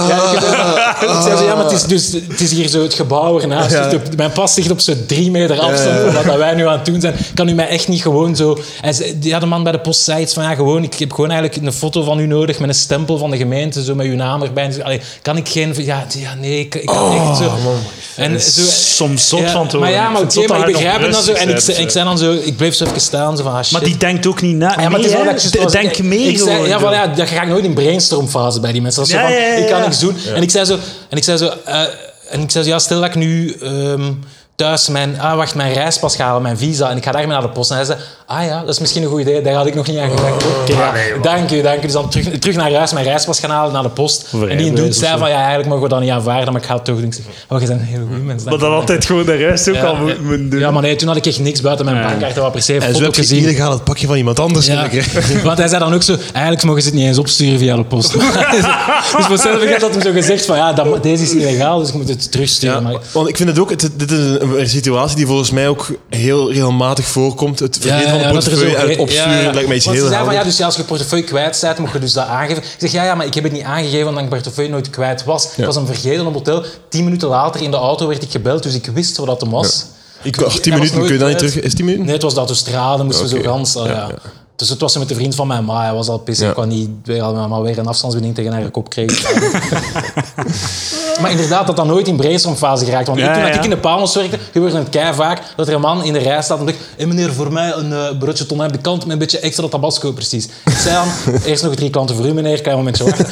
S3: ja, ik, ben- ik zei zo, ja, maar het is, dus, het is hier zo het gebouw ernaast.
S2: Ja.
S3: Dus de- mijn pas ligt op zo'n drie meter
S2: Ja,
S3: afstand
S2: ja.
S3: van wat dat wij nu aan het doen zijn. Kan u mij echt niet gewoon zo... En ze- ja, de man bij de post zei iets van, ja, gewoon, ik heb gewoon eigenlijk een foto van u nodig met een stempel van de gemeente, zo met uw naam erbij. En ze- allee, kan ik geen... Ja, ja nee, ik, ik kan
S1: Oh,
S3: echt zo... en zo
S1: Dus Soms zot
S3: ja,
S1: van te
S3: Maar
S1: horen.
S3: ja, maar,
S1: Ik vind
S3: oké,
S1: het zot
S3: maar ik
S1: dat hij
S3: begrijp
S1: nog
S3: het dan zo. En ik,
S1: rustig eh.
S3: zei- ik
S1: bent.
S3: zei dan zo, ik bleef zo even staan, zo van ah, shit.
S1: Maar die denkt ook niet na.
S3: Ja, maar het is
S1: Nee,
S3: wel
S1: hè?
S3: dat je zoals-
S1: Denk mee
S3: ik zei,
S1: gewoon.
S3: ja, van, ja, daar ga ik nooit in brainstormfase bij die mensen. Dat is zo
S1: Ja,
S3: van,
S1: ja, ja,
S3: ik kan
S1: ja.
S3: niks doen. En ik zei zo, en ik zei zo, eh, en ik zei zo ja, stel dat ik nu ehm, thuis mijn, ah, wacht, mijn reispas ga halen, mijn visa, en ik ga daarmee naar de post. En hij zei, ah ja, dat is misschien een goed idee, daar had ik nog niet aan gedacht. Oké,
S1: Ah,
S3: ja, dank u, dank u. Dus dan terug, terug naar huis, mijn reispas gaan halen, naar de post. en die in doet zei van, ja, eigenlijk mogen we dat niet aanvaarden, maar ik ga het toch doen. Ik zeg, oh, je bent een hele goede mens. dank
S1: Maar dat
S3: u, dank u."
S1: altijd gewoon de rest ook al
S3: Ja,
S1: moet- moet doen.
S3: Ja, maar nee, toen had ik echt niks buiten mijn
S1: Ja.
S3: bankkaart. Dat was per se een
S2: En zo
S3: foto
S2: heb je
S3: gezien.
S2: illegaal het pakje van iemand anders
S3: Ja.
S2: kunnen krijgen.
S3: Want hij zei dan ook zo, eigenlijk mogen ze het niet eens opsturen via de post. dus voor hetzelfde geld had hem zo gezegd van, ja, dat, deze is illegaal, dus ik moet het terugsturen.
S2: Ja,
S3: maar,
S2: want ik vind het ook, het- dit is een, een situatie die volgens mij ook heel regelmatig voorkomt. Het vergeten van de
S3: dat er
S2: portefeuille
S3: zo-
S2: en het opsturen
S3: ja, ja.
S2: lijkt mij iets
S3: Want ze
S2: heel
S3: zei van, ja,
S2: helder.
S3: dus ja, als je portefeuille kwijt bent, moet je dus dat aangeven. Ik zeg, ja, ja, maar ik heb het niet aangegeven omdat ik portefeuille nooit kwijt was. Ik was hem vergeten op hotel. Tien minuten later in de auto werd ik gebeld, dus ik wist wat dat hem was.
S2: Ik, ach, 10
S3: was
S2: minuten,
S3: nooit
S2: kun je dat niet
S3: uit.
S2: terug? Is 10 minuten?
S3: Nee, het was de autostrade, dus moesten we
S2: Oké.
S3: zo gans... ah, ja. Dus het was met de vriend van mijn ma. Hij was al pissig.
S2: Ja.
S3: Ik kon niet weer, maar weer een afstandsbediening tegen haar kop kreeg. maar inderdaad, dat dat nooit in brainstormfase geraakt. Want
S1: Ja,
S3: toen
S1: ja.
S3: ik in de Pamos werkte, gebeurde het kei vaak dat er een man in de rij staat en zegt: hey, meneer, voor mij een eh, broodje ton aan de kant met een beetje extra tabasco, precies. Ik zei dan, eerst nog drie klanten voor u, meneer, kan je een momentje wachten.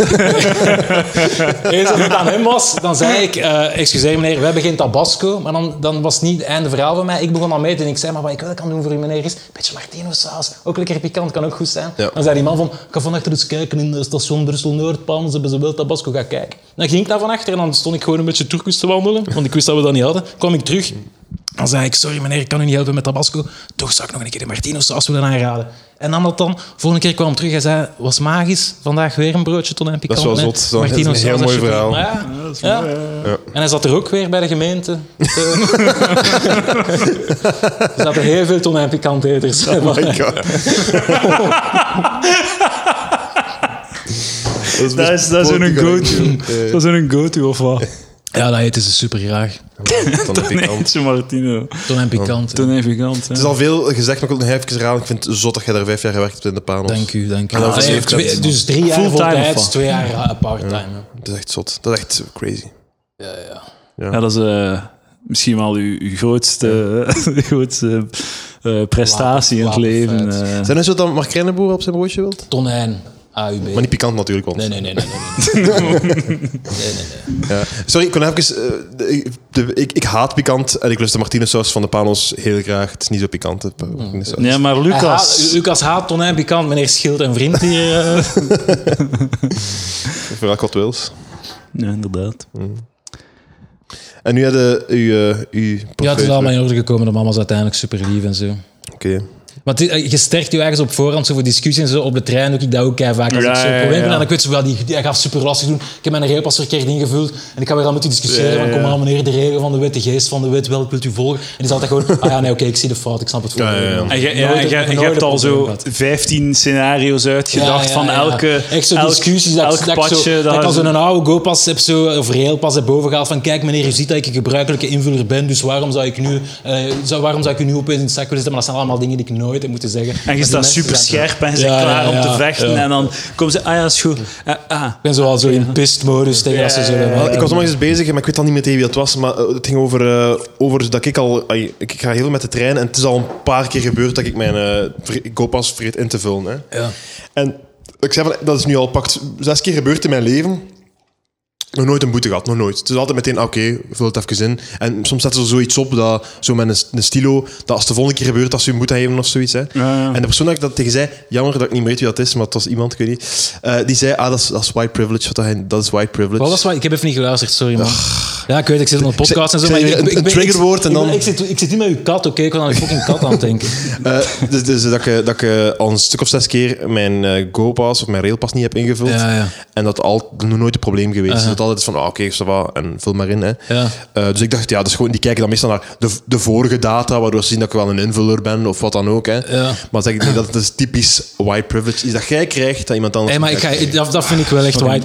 S3: Eens dat het aan hem was, dan zei ik, eh, excuseer meneer, we hebben geen tabasco. Maar dan, dan was het niet het einde verhaal van mij. Ik begon al mee te doen. Ik zei, maar wat ik wel kan doen voor u, meneer, is een beetje Martino saus. Ook lekker pikant, kan ook goed zijn.
S2: Ja.
S3: Dan zei die man van, ik ga van achter eens kijken in eh, station Brussel-Noord, Palms, hebben ze wel tabasco, ga kijken. Dan ging ik daar van achter en dan stond ik gewoon een beetje Turkus te wandelen, want ik wist dat we dat niet hadden. kwam ik terug, dan zei ik, sorry meneer, ik kan u niet helpen met tabasco. Toch zou ik nog een keer de Martino saus willen aanraden. En nam dat dan. Volgende keer kwam ik terug en zei, was magisch, vandaag weer een broodje ton en pikant.
S2: Dat is wel
S3: met
S2: zot, dat is
S3: Martino
S2: een heel
S3: saus,
S2: mooi
S3: alsjeblieft.
S2: verhaal.
S3: Maar Ja, ja. En hij zat er ook weer bij de gemeente. er zaten heel veel ton en pikant eters.
S2: Oh
S1: Dat is, eh, dat is een go-to.
S3: Eh,
S1: Dat is een go-to of wat?
S3: ja, dat eten ze super graag.
S2: Het
S1: Eentje Martino.
S3: Ton en
S2: Oh.
S3: pikant.
S1: Toen even gigant.
S2: is al veel gezegd, maar ik wil het nog even herhalen. Ik vind het zot dat jij daar vijf jaar gewerkt hebt in de panels.
S3: Dank u, dank u.
S2: Ah, dat was
S3: Allee,
S2: even
S3: twee-
S2: dat.
S3: dus drie jaar
S1: Fulltime of
S3: voltijds,
S1: wat?
S3: twee jaar eh, part-time.
S2: Dat is echt zot. Dat is echt crazy.
S3: Ja, ja.
S1: Ja, dat is eh, misschien wel uw, uw grootste, uw grootste eh, prestatie
S3: Laat-
S1: in het
S3: laat
S1: leven.
S3: het
S1: eh.
S2: Zijn er zo dat Mark Krijnenboer op zijn broodje wilt?
S3: Ton en AUB.
S2: Maar niet pikant natuurlijk, want...
S3: Nee, nee, nee. nee, nee, nee. nee, nee, nee.
S2: Ja. Sorry, ik kon even... eh, de- de- ik, ik haat pikant en ik lust de Martinez-saus van de panels heel graag. Het is niet zo pikant, de
S3: Hmm.
S2: Martinez-saus.
S1: Ja, maar
S3: Hij haat-
S1: Lucas.
S3: Lucas haat Ton en pikant, meneer Schild en vriend hier. eh.
S2: Vooral Cod Wils.
S1: Ja, inderdaad.
S2: En nu hadden u eh, uw
S3: ja, het is
S2: portefeuille
S3: allemaal in orde gekomen. De mama was uiteindelijk super lief en zo.
S2: terug. Oké.
S3: Want eh, je sterkt je ergens op voorhand zo voor discussies en zo. Op de trein doe ik dat ook kei vaak. Als
S1: Ja,
S3: ik zo'n
S1: ja, ja,
S3: probleem heb,
S1: ja.
S3: dan ik weet zo wel, die, die gaat super lastig doen. Ik heb mijn regenpas verkeerd ingevuld en ik ga weer aan moeten discussiëren.
S1: Ja, ja,
S3: Van, kom
S1: ja.
S3: maar meneer, de regel van de wet, de geest van de wet, welk wilt u volgen? En die is altijd gewoon, ah ja, nee, oké, ik zie de fout, ik snap het
S2: ja,
S3: volgende.
S2: ja.
S1: En je,
S3: Nooit- nooit een
S1: hebt al
S3: probleem
S1: zo
S3: gehad.
S1: 15 scenario's uitgedacht
S3: Ja, ja,
S1: van
S3: ja.
S1: elke.
S3: Echt zo'n discussies. Dat, ik-
S1: elk
S3: dat, ik zo-
S1: padje.
S3: dat ik al zo'n oude GoPas heb, zo, of railpas heb bovengehaald. Van kijk meneer, u ziet dat ik een gebruikelijke invuller ben. Dus waarom zou ik, nu, eh, zou, waarom zou ik u nu opeens in het zak willen zetten? Maar dat zijn allemaal dingen die ik nooit heb moeten zeggen. Maar
S1: En je
S3: die
S1: staat
S3: mensen
S1: super
S3: zijn- eh,
S1: scherp en je bent
S3: Ja,
S1: klaar
S3: ja,
S1: om te
S3: ja,
S1: vechten.
S3: ja.
S1: En dan komen ze, ah ja, is goed. Ah, ah.
S3: Ik ben zoal zo in pistmodus tegen dat ze zo.
S1: Ja, ja,
S2: ik was nog eens bezig, maar ik weet al niet meer tegen wie het was. Maar eh, het ging over, eh, over dat ik al... ai, ik ik ga heel met de trein en het is al een paar keer gebeurd dat ik mijn eh, ver- GoPas vergeet in te vullen. Hè.
S3: Ja.
S2: En ik zei van, dat is nu al pakt zes keer gebeurd in mijn leven. Nog nooit een boete gehad, nog nooit. Het is altijd meteen, ah, oké, vul het even in. En soms zetten ze zoiets op, dat, zo met een, een stilo, dat als de volgende keer gebeurt, dat ze een boete geven of zoiets. Hè.
S1: ja.
S2: En de persoon dat ik dat tegen zei, jammer dat ik niet meer weet wie dat is, maar het was iemand, ik weet niet. eh, die zei, ah, dat is, dat is white privilege, wat dat, hij- dat is white privilege.
S3: Wat was wat? Ik heb even niet geluisterd, sorry man. Ja, ik weet, ik zit op een podcast en zo.
S2: ik
S3: maar
S2: zei
S3: ik-
S2: een-
S3: ik- ik-
S2: een
S3: ik-
S2: triggerwoord en
S3: ik-
S2: dan-
S3: Ik zit, ik zit niet met uw kat, oké? Ik was aan een fucking kat aan het denken.
S2: Eh, dus, dus dat ik, dat ik eh, al een stuk of zes keer mijn eh GoPass of mijn Railpass niet heb ingevuld.
S3: Ja, ja.
S2: En dat al nog nooit een probleem geweest.
S3: Aha.
S2: Dus dat altijd is van, ah, oké, ça va, en vul maar in. Hè.
S3: Ja.
S2: Eh, dus ik dacht, ja, dus gewoon, die kijken dan meestal naar de, de vorige data, waardoor ze zien dat ik wel een invuller ben of wat dan ook. Hè.
S3: Ja.
S2: Maar zeg ik niet dat het is typisch white privilege is dat jij krijgt dat iemand anders.
S3: Hé, maar ik
S2: niet
S3: ga,
S2: krijgt.
S3: ik- dat, dat vind ik wel echt white
S2: Ah,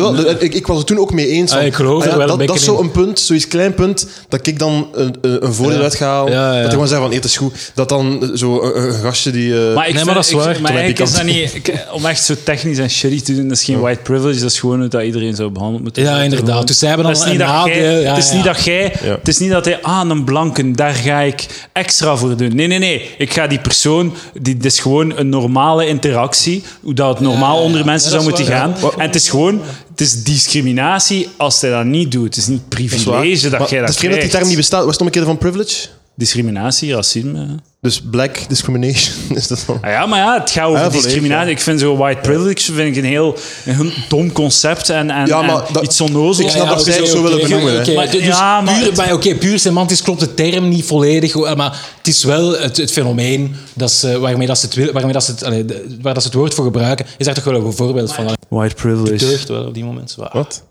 S2: wel, wel, dat- ik, ik was het toen ook mee eens. van,
S3: Ah, ik geloof er
S2: ja,
S3: wel een
S2: dat, dat is
S3: beetje in.
S2: zo'n punt, zoiets klein punt, dat ik dan een, een een voordeel
S3: Ja.
S2: uit ga halen.
S3: Ja, ja, ja.
S2: Dat ik gewoon zeg van, hey, het is goed. Dat dan eh, zo een, een gastje die... eh,
S1: Maar ik
S3: Nee,
S1: vind-
S3: maar dat is
S1: ik-
S3: waar.
S1: Maar
S2: Toen heb
S1: eigenlijk
S2: ik
S1: is dat niet... ik- om echt zo technisch en shitty te doen, dat is geen white privilege. Dat is gewoon hoe dat iedereen zou behandeld moeten
S3: Ja, inderdaad. Dus zij hebben dan
S1: Het is niet
S3: een
S1: dat jij...
S3: nadeel. Ja,
S1: Het is
S3: ja.
S1: niet dat jij...
S2: Ja.
S1: Het is niet dat hij... Ah, een blanken, daar ga ik extra voor doen. Nee, nee, nee. Ik ga die persoon... Die, dit is gewoon een normale interactie. Hoe dat het normaal
S3: ja, ja.
S1: onder mensen
S3: Ja, dat
S1: zou
S3: is
S1: moeten
S3: waar,
S1: gaan.
S3: ja.
S1: En het is gewoon... Het is discriminatie als hij dat niet doet. Het is niet
S2: Dat is waar.
S1: privilege dat,
S2: Maar
S1: jij
S2: Het
S1: dat
S2: is vreemd dat die term niet
S1: krijgt.
S2: bestaat. Waar stond ik eerder van privilege?
S1: Discriminatie, racisme...
S2: Dus black discrimination is dat dan.
S1: Ah ja, maar ja, het gaat over
S2: Ja, volledig,
S1: discriminatie.
S2: ja.
S1: Ik vind zo white privilege vind ik een heel een heel dom concept en, en,
S2: Ja, maar
S1: en
S2: dat-
S1: iets onnozels.
S2: ik snap
S1: Ja,
S2: dat
S1: oké,
S2: zij het zo
S1: oké.
S2: willen benoemen, hè.
S3: Oké,
S1: Maar-
S3: dus
S1: ja, maar
S3: puur,
S1: het-
S3: maar oké, puur semantisch klopt de term niet volledig. hoor, Maar het is wel het, het fenomeen dat ze, waarmee, dat ze het, wil- waarmee dat ze het, allee, de- waar dat ze het woord voor gebruiken. Is daar toch wel een voorbeeld van. Dus-
S1: White
S3: Het
S1: privilege.
S3: deugt wel op die moment. zwaar.
S2: Wat?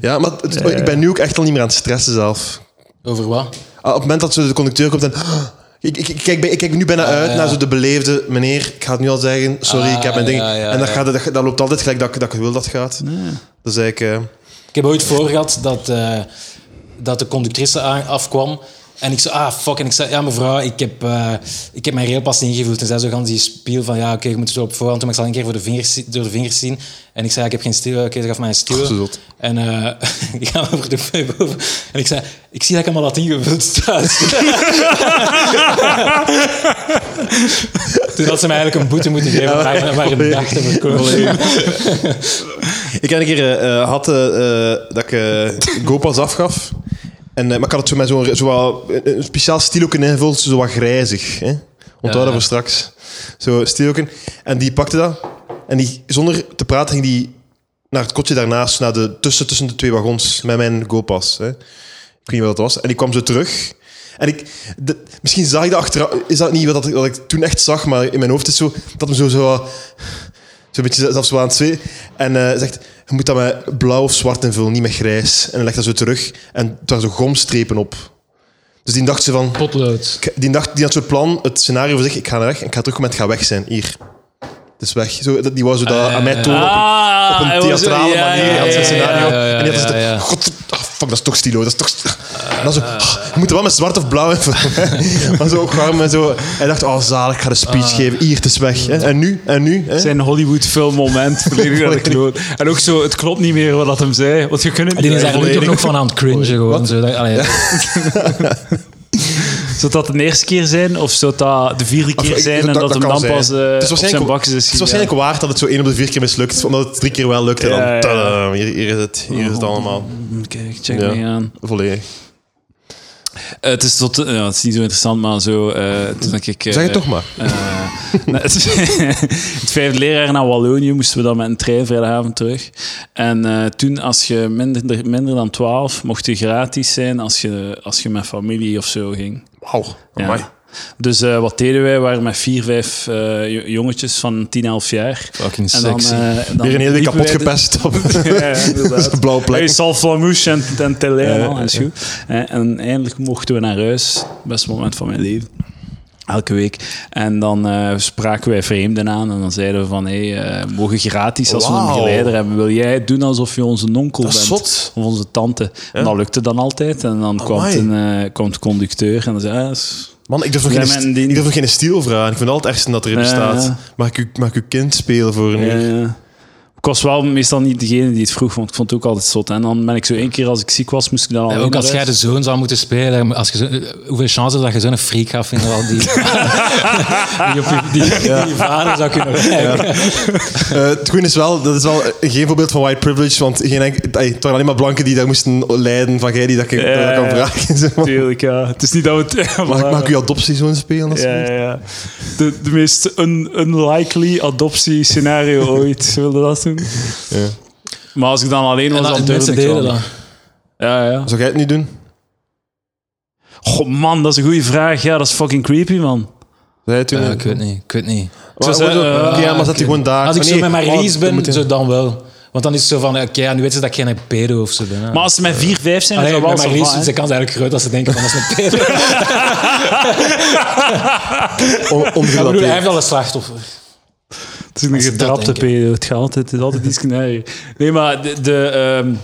S2: Ja, maar het- het- ik ben nu ook echt al niet meer aan het stressen zelf.
S3: Over wat?
S2: Ah, Op het moment dat zo de conducteur komt en... "Ah, Ik, ik, ik kijk, bij- ik kijk nu bijna uit naar zo de beleefde meneer. Ik ga het nu al zeggen. Sorry,
S3: Ah,
S2: ik heb mijn ding.
S3: ja, ja,
S2: en dat,
S3: ja.
S2: gaat, het- dat, dat loopt altijd gelijk dat, ik- dat ik wil dat het gaat. Dat is eigenlijk... eh,
S3: Ik heb ooit voor gehad dat, eh, dat de conductrice aan- afkwam
S4: En ik zei, ah, fuck. En ik zei, ja, mevrouw, ik heb, eh, ik heb mijn railpas ingevuld. En zij zo gaan die spiel van, ja, oké, je moet het op voorhand doen, maar ik zal een keer voor de vingers, zi- door de vingers zien. En ik zei, ja, ik heb geen stiel. Oké, ze gaf mij een stiel.
S2: Zo zot.
S4: en eh, ik ga over de web over. En ik zei, ik zie dat ik allemaal had ingevuld staat. Toen had ze mij eigenlijk een boete moeten geven, maar, maar een dag te verkopen.
S2: Ik heb een keer eh, eh, had eh, eh, dat ik eh GoPas afgaf. En, eh, maar ik had het zo met zo'n zo wat- eh, een een speciaal stiloken ingevuld, zo wat grijzig. Hè? Onthoud dat
S4: Ja.
S2: voor straks. Zo stiloken. En die pakte dat. En die, zonder te praten ging die naar het kotje daarnaast, naar de, tussen, tussen de twee wagons, met mijn GoPas. Hè? Ik weet niet wat dat was. En die kwam zo terug. En ik, de- misschien zag ik dat achteraf, is dat niet wat, dat, wat ik toen echt zag, maar in mijn hoofd is zo, dat hem zo, zo wat- Zo'n beetje zelfs wel aan het zwee. En eh, zegt, je moet dat met blauw of zwart invullen, niet met grijs. En dan legt dat zo terug. En daar zo gomstrepen op. Dus die dacht ze van...
S3: Potlood.
S2: ik- Die, dacht, die had zo'n plan, het scenario voor zich. Ik ga naar weg en ik ga terugkomen en het gaat weg zijn. Hier. Het is weg. Zo, dat- die wou zo dat aan mij tonen. op een-
S1: Ah,
S2: op een
S1: hij was-
S2: theatrale
S1: ja,
S2: manier,
S1: ja,
S2: had zijn
S1: ja, ja,
S2: scenario.
S1: ja.
S2: en die had
S4: ja,
S2: zo-
S4: ja.
S2: God, ah, fuck, dat is toch stilo, dat is toch... st- En dan zo, ah, je moet er wel met zwart of blauw invullen. maar zo warm en zo. Hij dacht, oh zalig, ik ga de speech geven. Hier, het is weg. hè. En nu, en nu. hè.
S1: Ah. Zijn Hollywood filmmoment volledig naar de kloot. En ook zo, het klopt niet meer wat dat hem zei. Want je kunt het
S3: Ah, Die
S1: niet
S3: is daar nu toch
S1: volledig.
S3: nog van aan het cringen gewoon. Zo. Dat, allee,
S1: Zou dat de eerste keer zijn? Of zou dat de vierde
S2: Of,
S1: keer
S2: ik-
S1: zijn? en
S2: Ah, dat-
S1: dat,
S2: dat
S1: hem
S2: kan
S1: dan
S2: zijn.
S1: pas eh,
S2: Het is
S1: op zijn
S2: waarschijnlijk-
S1: bakjes is
S2: Het is waarschijnlijk waard dat het zo één op de vier keer mislukt, omdat het drie keer wel lukt. En dan,
S1: Ja, ja, ja.
S2: tada, hier, hier is het, hier is het allemaal.
S1: gegaan. Kijk, check
S2: Ja.
S1: me aan.
S2: Volledig.
S1: Eh, het, is tot, ja, het is niet zo interessant, maar zo... eh, toen ik, eh,
S2: Zeg het toch maar.
S1: Eh, nee, het, het vijfde leraar naar Wallonië moesten we dan met een trein vrijdagavond terug. En eh, toen, als je minder, minder dan 12, mocht je gratis zijn als je, als je met familie of zo ging.
S2: Wauw, amai.
S1: Ja. Dus eh, wat deden wij? We waren met vier, vijf eh, jo- jongetjes van 10, 11 jaar.
S3: Fucking
S1: En dan,
S3: sexy.
S1: eh, dan
S2: Weer een hele week
S1: liepen
S2: kapot
S1: wij de-
S2: gepest. op-
S1: ja, ja, inderdaad.
S2: Blauwe plek.
S1: Hey, Salflamouche en, en Télé en
S2: Ja,
S1: al, dat is goed. Eh, En eindelijk mochten we naar huis. Best moment van mijn leven. Elke week. En dan eh, spraken wij vreemden aan. En dan zeiden we van, hé, hey, eh, we mogen gratis als we een
S2: Wauw.
S1: begeleider hebben. Wil jij het doen alsof je onze nonkel
S2: Dat is
S1: bent?
S2: zot.
S1: Of onze tante. En dat lukte dan altijd. En dan kwam,
S2: Amai.
S1: het een, eh, kwam de conducteur en dan zei ah, dat is-
S2: Man, ik durf nog
S1: Ja,
S2: geen,
S1: mijn
S2: st-
S1: ding.
S2: ik durf nog geen stiel vragen. Ik vind het al het ergste dat erin
S1: Ja,
S2: staat.
S1: ja.
S2: Mag ik, u- mag ik uw kind spelen voor een uur?
S1: Eh, ik was wel meestal niet degene die het vroeg, want ik vond het ook altijd zot. En dan ben ik zo één keer als ik ziek was, moest ik dan al.
S3: En ook als jij de zoon zou moeten spelen, als je zo, hoeveel kans is dat je zo'n freak gaat vinden al die, die op je, die, die vader zou kunnen lijken.
S2: Eh, het goede is wel, dat is wel geen voorbeeld van white privilege, want geen, enk- ey, het waren alleen maar blanken die daar moesten lijden van jij die dat ik
S1: Ja,
S2: dat ik kan
S1: ja.
S2: vragen. Zeg maar.
S1: Tuurlijk, ja. Het is niet dat we het...
S2: Mag, ik- mag ik uw adoptiezoon spelen? Als
S1: ja, ja, ja. De, de meest un- unlikely adoptiescenario ooit. Ze wilden dat doen.
S2: Ja.
S1: Maar als ik dan alleen was,
S3: En
S1: dan
S3: dat-
S1: durfde
S3: mensen
S1: ik wel
S3: deden
S1: niet.
S3: dat.
S1: Ja, ja.
S2: Zou jij het niet doen?
S1: Goh, man, dat is een goede vraag. Ja, dat is fucking creepy, man.
S2: Zou jij het doen?
S3: Ja, ik weet niet, ik weet niet.
S2: Maar-
S1: Zo zei-
S2: maar-
S1: eh,
S2: oké, ja, maar zat hij gewoon daar.
S3: Als ik
S2: Oh,
S3: zo
S2: nee.
S3: met mijn
S2: Oh,
S3: release
S2: dan moet
S3: ben,
S2: je-
S3: zo dan wel. Want dan is het zo van, oké, ja, nu weten ze dat ik geen pedo of zo ben. hè.
S1: Maar als ze met 4, 5 zijn,
S3: Allee,
S1: is
S3: met
S1: dat
S3: mijn
S1: wel zo
S3: release is de kans eigenlijk groot dat ze denken van, dat is een pedo.
S2: On-
S3: Ik bedoel, hij
S2: ongerelateerd.
S3: heeft al een slachtoffer.
S1: Het is een
S3: Als ze dat
S1: getrapte
S3: denken.
S1: pedo. Het gaat altijd, het is altijd iets knijden. Nee, maar de, de, ehm,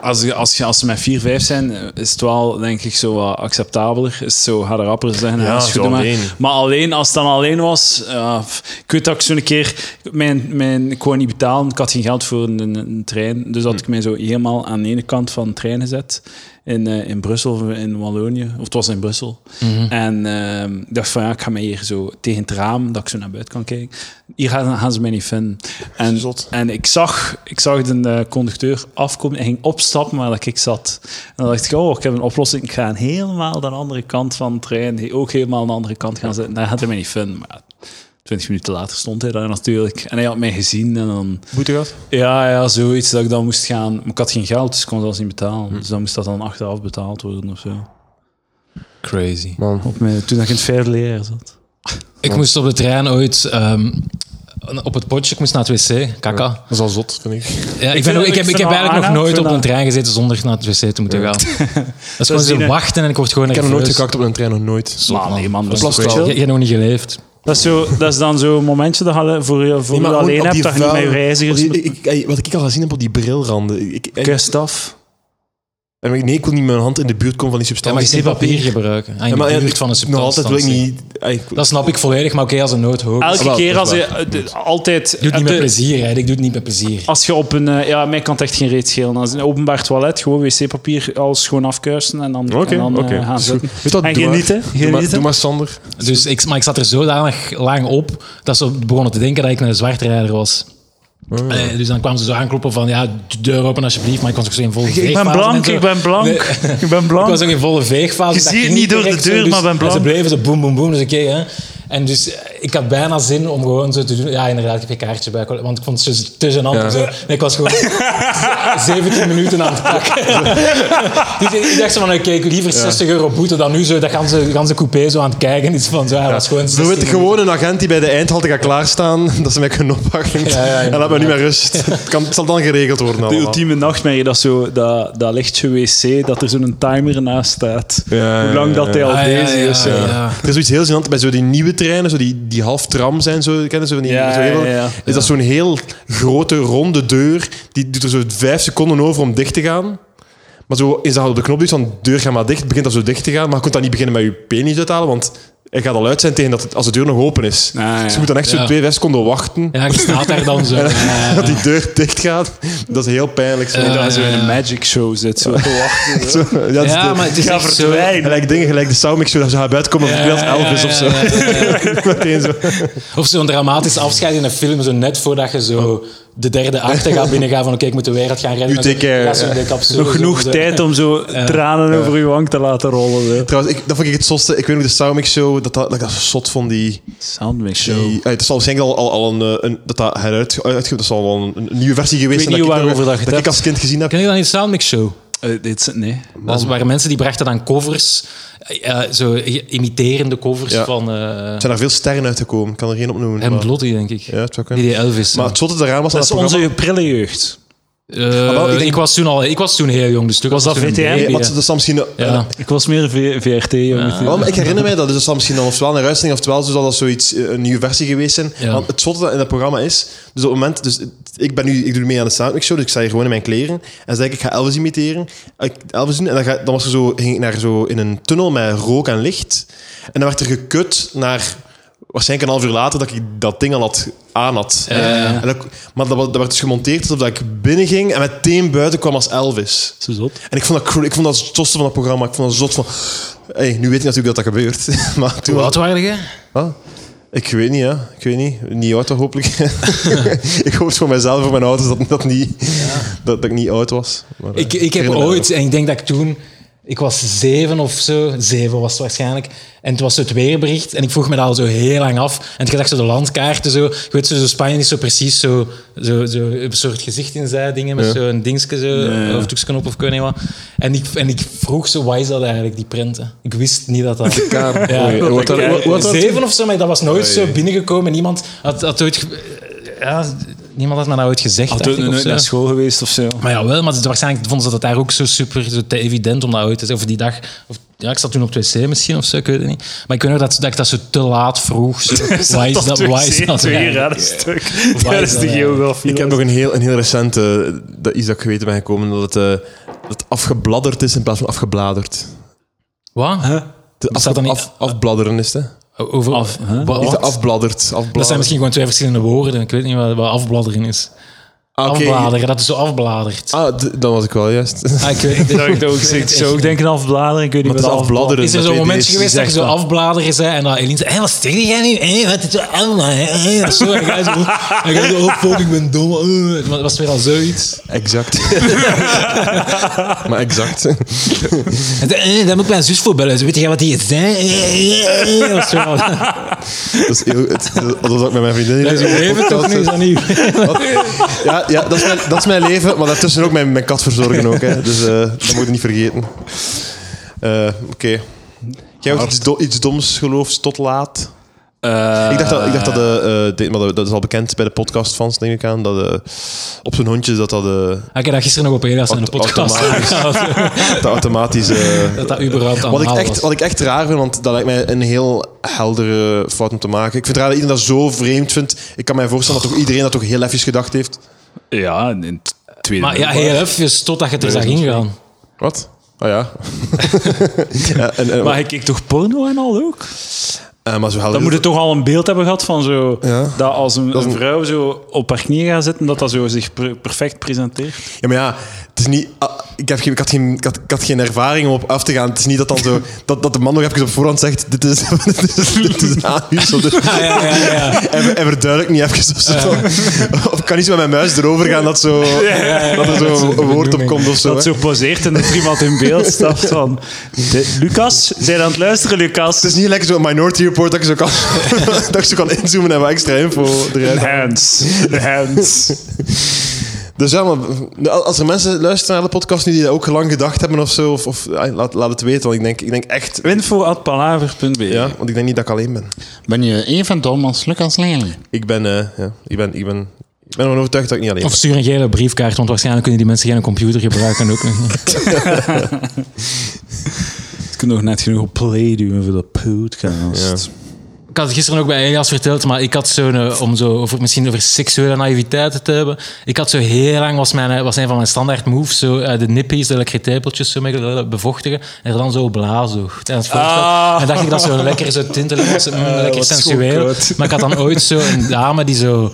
S1: als, je- als, je- als ze met 4, 5 zijn, is het wel, denk ik, zo wat acceptabeler. Is het zo harder rapper zeggen. Ja, is
S2: zo
S1: goed, maar,
S2: alleen.
S1: maar alleen, als het dan alleen was... ja, f- ik weet dat ik zo'n keer... Mijn, mijn, ik kon niet betalen, ik had geen geld voor een, een- een trein. Dus had ik mij zo helemaal aan de ene kant van de trein gezet. In, eh, in Brussel, of in Wallonië. Of het was in Brussel. En ehm, ik dacht van, ja, ik ga mij hier zo tegen het raam, dat ik zo naar buiten kan kijken. Hier gaan, gaan ze mij niet vinden. En,
S2: Zot.
S1: en ik zag, ik zag de eh, conducteur afkomen en ging opstappen waar dat ik zat. En dan dacht ik, oh, ik heb een oplossing. Ik ga helemaal de andere kant van de trein, die ook helemaal aan de andere kant gaan zitten. Daar gaat hij mij niet vinden. Maar 20 minuten later stond hij daar natuurlijk. En hij had mij gezien en dan...
S2: Boete gehad?
S1: Ja, ja, zoiets dat ik dan moest gaan. Maar ik had geen geld, dus ik kon zelfs niet betalen. Dus dan moest dat dan achteraf betaald worden of zo.
S3: Crazy.
S1: Op mijn, toen ik in het vijfde leraar zat.
S3: Ik moest op de trein ooit... ehm, op het potje, ik moest naar het wc, kaka.
S2: Dat is al zot, vind ik.
S3: Ja, ik,
S1: Ik
S3: ben,
S1: vind-
S3: ook- ik,
S1: ik
S3: heb, ik
S1: vind
S3: heb
S1: dat
S3: eigenlijk nog
S1: aangenaam, ik
S3: nooit
S1: vind
S3: op een
S1: dat-
S3: trein gezeten zonder naar het wc te moeten gaan. Dat is gewoon
S1: die-
S3: zo wachten en ik word gewoon
S2: Ik heb nog nooit
S3: nerveus.
S2: gekakt op een trein, nog nooit.
S1: Maar nee, man, dat is
S2: Plast
S1: toch
S2: wel.
S1: chill?
S3: Je, je hebt nog niet geleefd.
S1: Dat is, zo, dat is dan zo'n momentje dat je voor je, voor
S2: Nee, maar
S1: je alleen
S2: gewoon op
S1: hebt,
S2: die
S1: dat je niet
S2: vuil-
S1: met je
S2: op
S1: reizigers...
S2: die- ik- ik- ey, Wat ik al gezien heb op die brilranden. Ik, ik-
S1: Kust af.
S2: En ik- nee, ik wil niet met mijn hand in de buurt komen van die
S4: Ja, maar je
S2: substantie.
S4: ziet papier gebruiken. Ah, in
S2: Ja, maar
S4: de
S2: ja,
S4: buurt van een
S2: Nog
S4: substantie.
S2: altijd wil ik niet... ah, ik-
S4: Dat snap ik volledig, maar oké, als een noodhoop.
S1: Elke
S2: wel,
S1: keer
S2: dat
S1: als
S2: is
S1: je eh, de- altijd.
S4: doe het niet
S1: eh,
S4: met
S1: de-
S4: plezier, hè. ik doe het niet met plezier.
S1: als je op een. eh, ja, mij kan het echt geen reet schelen. Als een openbaar toilet, gewoon wc-papier, alles gewoon afkuisen en dan,
S2: Oké,
S1: en dan eh,
S2: oké.
S1: gaan zitten.
S2: Weet dat,
S1: En
S2: doe maar.
S1: genieten.
S2: Doe maar,
S1: genieten.
S2: doe maar, Sander.
S4: Dus
S3: Dus ik, maar ik zat er zodanig lang op dat ze begonnen te denken dat ik een zwartrijder was. Eh, dus dan kwamen ze zo aankloppen van ja, de deur open alsjeblieft, maar ik was nog zo in volle
S1: Ik ben
S3: veegfase en
S1: blank,
S3: zo.
S1: ik ben blank. Ik ben
S4: Ik was
S1: blank.
S4: nog in volle veegfase.
S1: Je
S4: dat
S1: ziet
S4: ging
S1: niet door de
S4: direct zo,
S1: deur,
S4: dus-
S1: maar ben
S4: en
S1: blank.
S4: Ze bleven zo boem, boem, boem. Dus oké, hè. En dus eh, ik had bijna zin om gewoon zo te doen. Ja, inderdaad, ik heb geen kaartje bij. Want ik vond het zo te gênant. om zo- Nee, ik was gewoon 17 minuten aan het pakken. dus ik dacht zo van, oké, ik liever 60 euro boete dan nu zo. Dat ganse, ganse coupé zo aan het kijken is van, zo, ja, dat is gewoon
S2: Zo
S4: 16
S2: weet ik gewoon een agent die bij de eindhalte gaat klaarstaan, dat ze mij kunnen oppakken.
S4: Ja, ja,
S2: en laat me niet meer rust. Het, kan, het zal dan geregeld worden
S1: De
S2: allemaal.
S1: ultieme nachtmerrie, dat, zo, dat, dat lichtje wc, dat er zo'n timer naast staat.
S2: Ja,
S1: Hoe lang dat hij al
S4: minuten. Ah, ja,
S1: bezig is.
S4: ja,
S1: ja.
S4: ja.
S2: Er is zoiets heel gênant bij zo die nieuwe treinen, zo die, die half tram zijn, zo, kennen ze van die,
S1: Ja,
S2: zo heel-
S1: ja, ja.
S2: Is dat zo'n heel grote ronde deur, die doet er zo vijf seconden over om dicht te gaan. Maar zo is dat op de knop duwt van deur ga maar dicht, begint dat zo dicht te gaan, maar je kunt dan niet beginnen met je penis uit te halen, want hij gaat al uit zijn tegen dat het, als de deur nog open is.
S1: Ah, ja.
S2: Dus je moet dan echt zo
S3: Ja.
S2: twee, vijf seconden wachten.
S3: Ja, je staat daar dan zo. Eh,
S2: Dat die deur dicht gaat, dat is heel pijnlijk. Zo.
S1: En dat hij zo in
S3: ja,
S1: een
S3: ja.
S1: magic show zit. Zo te wachten.
S2: Zo, ja, dat is
S3: ja,
S2: de-
S3: maar het is
S1: Ga
S3: echt zo...
S1: verdwijnen.
S2: Gelijk dingen, gelijk de Soundmix, zo dat ze haar buiten komen
S3: Ja,
S2: of het
S3: ja,
S2: Elvis
S3: ja,
S2: of zo.
S3: ja,
S2: Meteen zo.
S4: Of zo'n dramatisch afscheid in een film, zo net voordat je zo de derde acte gaat binnengaan van oké, ik moet de wereld gaan redden.
S2: You take care.
S4: Ja, zo'n dikke capsule,
S1: Nog
S4: zo,
S1: genoeg
S4: zo.
S1: tijd om zo tranen over je wang te laten rollen. Zo.
S2: Trouwens, ik, dat vond ik het zotste. Ik weet nog de Soundmix Show, dat, dat, dat ik dat zo zot vond. Die,
S1: Soundmix
S2: die, eh, het zal waarschijnlijk al, al, al een, eh, een, dat dat heruit, uitge- dat zal wel een, een nieuwe versie geweest
S1: weet
S2: zijn.
S1: niet
S2: dat ik,
S1: waarover dat je
S2: dat
S1: het
S2: ik als kind gezien heb.
S3: Ken je dat in de Soundmix Show?
S1: Eh, dit, nee.
S3: Dat waren mensen die brachten dan covers, eh, eh, zo imiterende covers
S2: Ja.
S3: van eh
S2: Er zijn er veel sterren uitgekomen. Ik kan er geen opnoemen.
S3: Hem
S2: maar-
S3: Lottie, denk ik.
S2: Ja, het zou
S3: Die
S2: kunnen.
S3: deed Elvis.
S2: Maar het zotte daaraan was
S1: Dat is
S2: dat programma-
S1: onze prille jeugd.
S3: Eh,
S2: wel, ik
S3: ik,
S2: denk-
S3: was toen al, ik was toen heel jong, dus toen was
S1: dat
S3: toen een
S1: VTM?
S3: baby,
S2: Nee, want
S3: ja.
S2: dat zal misschien...
S3: Ja.
S1: Ik was meer een VRT-jongen.
S2: Ja, maar ik herinner mij dat. Dus dat zal misschien dan ofwel een uitzending, oftewel zo zal dat zoiets, eh, een nieuwe versie geweest zijn.
S3: Ja.
S2: Want het zotte dat in dat programma is, dus op het moment, dus het- ik, ben nu, ik doe mee aan de Soundmix Show, dus ik sta hier gewoon in mijn kleren. En zei ik, ik ga Elvis imiteren. Ik Elvis doen, en dan, ga, dan was er zo, ging ik naar zo in een tunnel met rook en licht. En dan werd er gekut naar waarschijnlijk een half uur later dat ik dat ding al had, aan had. En dat- maar dat, wa- dat werd dus gemonteerd alsof dat ik binnenging en meteen buiten kwam als Elvis.
S1: Zo zot.
S2: En ik vond dat, cr- ik vond dat het zotste van dat programma. Ik vond dat zot van... Hey, nu weet ik natuurlijk dat dat gebeurt. maar toen
S3: Hoe
S2: was...
S3: oud waren je?
S2: Ah, ik weet niet, ja. Ik weet niet. Niet oud, toch, hopelijk. ik hoop het voor mezelf, voor mijn ouders, dat, dat, niet, dat, dat ik niet oud was. Maar, eh,
S4: Ik, ik heb
S2: herinner me
S4: ooit, en ik denk dat ik toen, ik was zeven of zo, zeven was het waarschijnlijk, en het was zo het weerbericht, en ik vroeg me dat al zo heel lang af. En ik dacht zo de landkaarten, zo, je weet zo, zo Spanje is zo precies zo, zo, zo een soort gezicht in zij dingen, met zo'n dingetje zo, of toeksknop of ik weet niet wat. En ik, en ik vroeg zo, wat is dat eigenlijk, die prenten? Ik wist niet dat dat...
S2: dat.
S4: Ja.
S2: Oei, wat daar- wat- wat daar-
S4: zeven of zo, maar dat was nooit
S2: Oei.
S4: zo binnengekomen. Niemand had, had ooit... ge- Ja, niemand had me dat ooit gezegd.
S1: Had
S4: dacht
S1: toen
S4: ik, of
S1: nooit
S4: zo.
S1: naar school geweest of zo.
S3: Maar ja, wel, maar het- waarschijnlijk vonden ze dat daar ook zo super zo te evident om dat uit te zeggen. Of die dag, of, ja, ik zat toen op 2C misschien of zo, ik weet het niet. Maar ik weet nog dat, dat ik dat zo te laat vroeg. Zo, why is dat? Why is dat? eigenlijk?
S1: stuk.
S3: Waar is dat, ja.
S1: geografie.
S2: Ik heb nog een heel, een heel recente... Dat is dat ik geweten ben gekomen, dat het, eh, dat het afgebladderd is in plaats van afgebladerd.
S3: Wat?
S2: Het
S3: Bestaat dat niet-
S2: af- afbladderen is het, hè?
S3: Over,
S1: Af, hè?
S3: wa-
S2: Niet
S3: wat?
S2: afbladderd.
S3: Dat zijn misschien gewoon twee verschillende woorden. Ik weet niet wat, wat afbladderen is. Afbladeren, dat is zo afbladerd.
S2: Ah, d- dan was ik wel juist.
S3: Ah, ik weet het.
S1: ik ook, ik zou ook denken afbladeren. Ik weet niet
S2: Maar het
S1: wat
S2: is afbladderen.
S3: Is er
S2: dat
S3: zo'n
S2: weet
S3: moment
S2: deze,
S3: geweest dat je
S1: die
S3: zo
S1: zegt
S3: afbladeren zei en dat Eline zei, hé, wat zeg jij nu? Hé, wat is dat allemaal? Hé, hé, Zo, en jij zo, en jij zo, oh fuck, ik ben dom. eh. Maar dat was weer al zoiets.
S2: Exact. maar exact.
S3: En zei, hé, daar eh, moet ik mijn zus voor bellen. Zo, Weet jij wat die Eh, zei? Hé, hé, hé. Dat was weer al-
S2: Dat is heel, het, alsof ik met mijn vriendin...
S3: Dat is je leven toch niet? Is dat niet?
S2: Ja, ja dat, is mijn, dat is mijn leven, maar daartussen ook mijn, mijn kat verzorgen. Ook, hè. Dus eh, dat moet je niet vergeten. Eh, Oké. Jij hebt iets, do- iets doms geloofd tot laat?
S1: afbladeren.
S2: ik dacht dat, ik dacht dat eh, eh, dit- maar dat, dat is al bekend bij de podcast fans, denk ik aan, dat eh, op zijn hondje dat dat, eh,
S3: Ah, Ik heb dat gisteren nog op Elias in de
S2: Auto-
S3: podcast.
S2: dat automatisch... eh,
S3: Dat dat überhaupt aan
S2: Wat ik,
S3: haal
S2: echt,
S3: was.
S2: wat ik echt raar vind, want dat lijkt mij een heel heldere fout om te maken. Ik vind het raar dat iedereen dat zo vreemd vindt. Ik kan mij voorstellen dat toch iedereen dat toch heel even gedacht heeft.
S1: Ja, in het tweede
S3: Maar ja,
S1: middelbaar.
S3: heel even totdat je er zag ingaan.
S2: Wat? Oh ja. ja en, en,
S1: Maar ik keek toch porno en al ook?
S2: eh, maar zo helder
S1: Dan moet het toch al een beeld hebben gehad van zo...
S2: Ja.
S1: Dat als een,
S2: is
S1: een
S2: een-
S1: vrouw zo op haar knieën gaat zitten, dat dat zo zich per- perfect presenteert.
S2: Ja, maar ja, het is niet. ah, ik, heb geen, ik, had geen, ik, had, ik had geen ervaring om op af te gaan. Het is niet dat dan zo. Dat, dat de man nog even op voorhand zegt: Dit is, dit is, dit is aanhuisel. Dit-
S3: Ah,
S4: ja, ja, ja.
S2: En, ver- en verduidelijk niet even. Of, zo. of ik kan niet zo met mijn muis erover gaan dat, zo, dat er
S4: Dat is een
S2: zo een woord op
S4: benoeming.
S2: komt of zo.
S1: Dat
S2: hè.
S1: zo poseert en dat er iemand in beeld stapt van... "De- Lucas, zijn aan het luisteren, Lucas?
S2: Het is niet lekker zo'n Minority Report dat ik zo kan, dat ik zo kan inzoomen en wat extra info eruit.
S1: Hands. Hands.
S2: Dus ja, maar als er mensen luisteren naar de podcast nu die dat ook lang gedacht hebben of zo, of, of ah, laat, laat het weten, want ik denk, ik denk echt...
S1: Info.palaver.be
S2: Ja, want ik denk niet dat ik alleen ben.
S5: Ben je even Dolmans, Lucas Leijling?
S2: Ik ben, eh, ja, ik ben, ik ben, ik ben ervan overtuigd dat ik niet alleen
S3: Of stuur een gele briefkaart, want waarschijnlijk kunnen die mensen geen computer gebruiken. Ook.
S1: Ik kan nog net genoeg op play duwen voor dat podcast.
S3: Ik had het gisteren ook bij Elias verteld, maar ik had zo'n, eh, om zo over, misschien over seksuele naïviteiten te hebben. Ik had zo heel lang, was, mijn, eh, was een van mijn standaard moves, zo eh, de nippies, de lekkere tepeltjes zo mee bevochtigen. En er dan zo blazen. tijdens het voorstel.
S1: Ah. Eh,
S3: En dacht ik dat zo lekker zo tintelen, zo, mm, lekker
S1: wat
S3: sensueel.
S1: schokkend.
S3: Maar ik had dan ooit zo een dame die zo,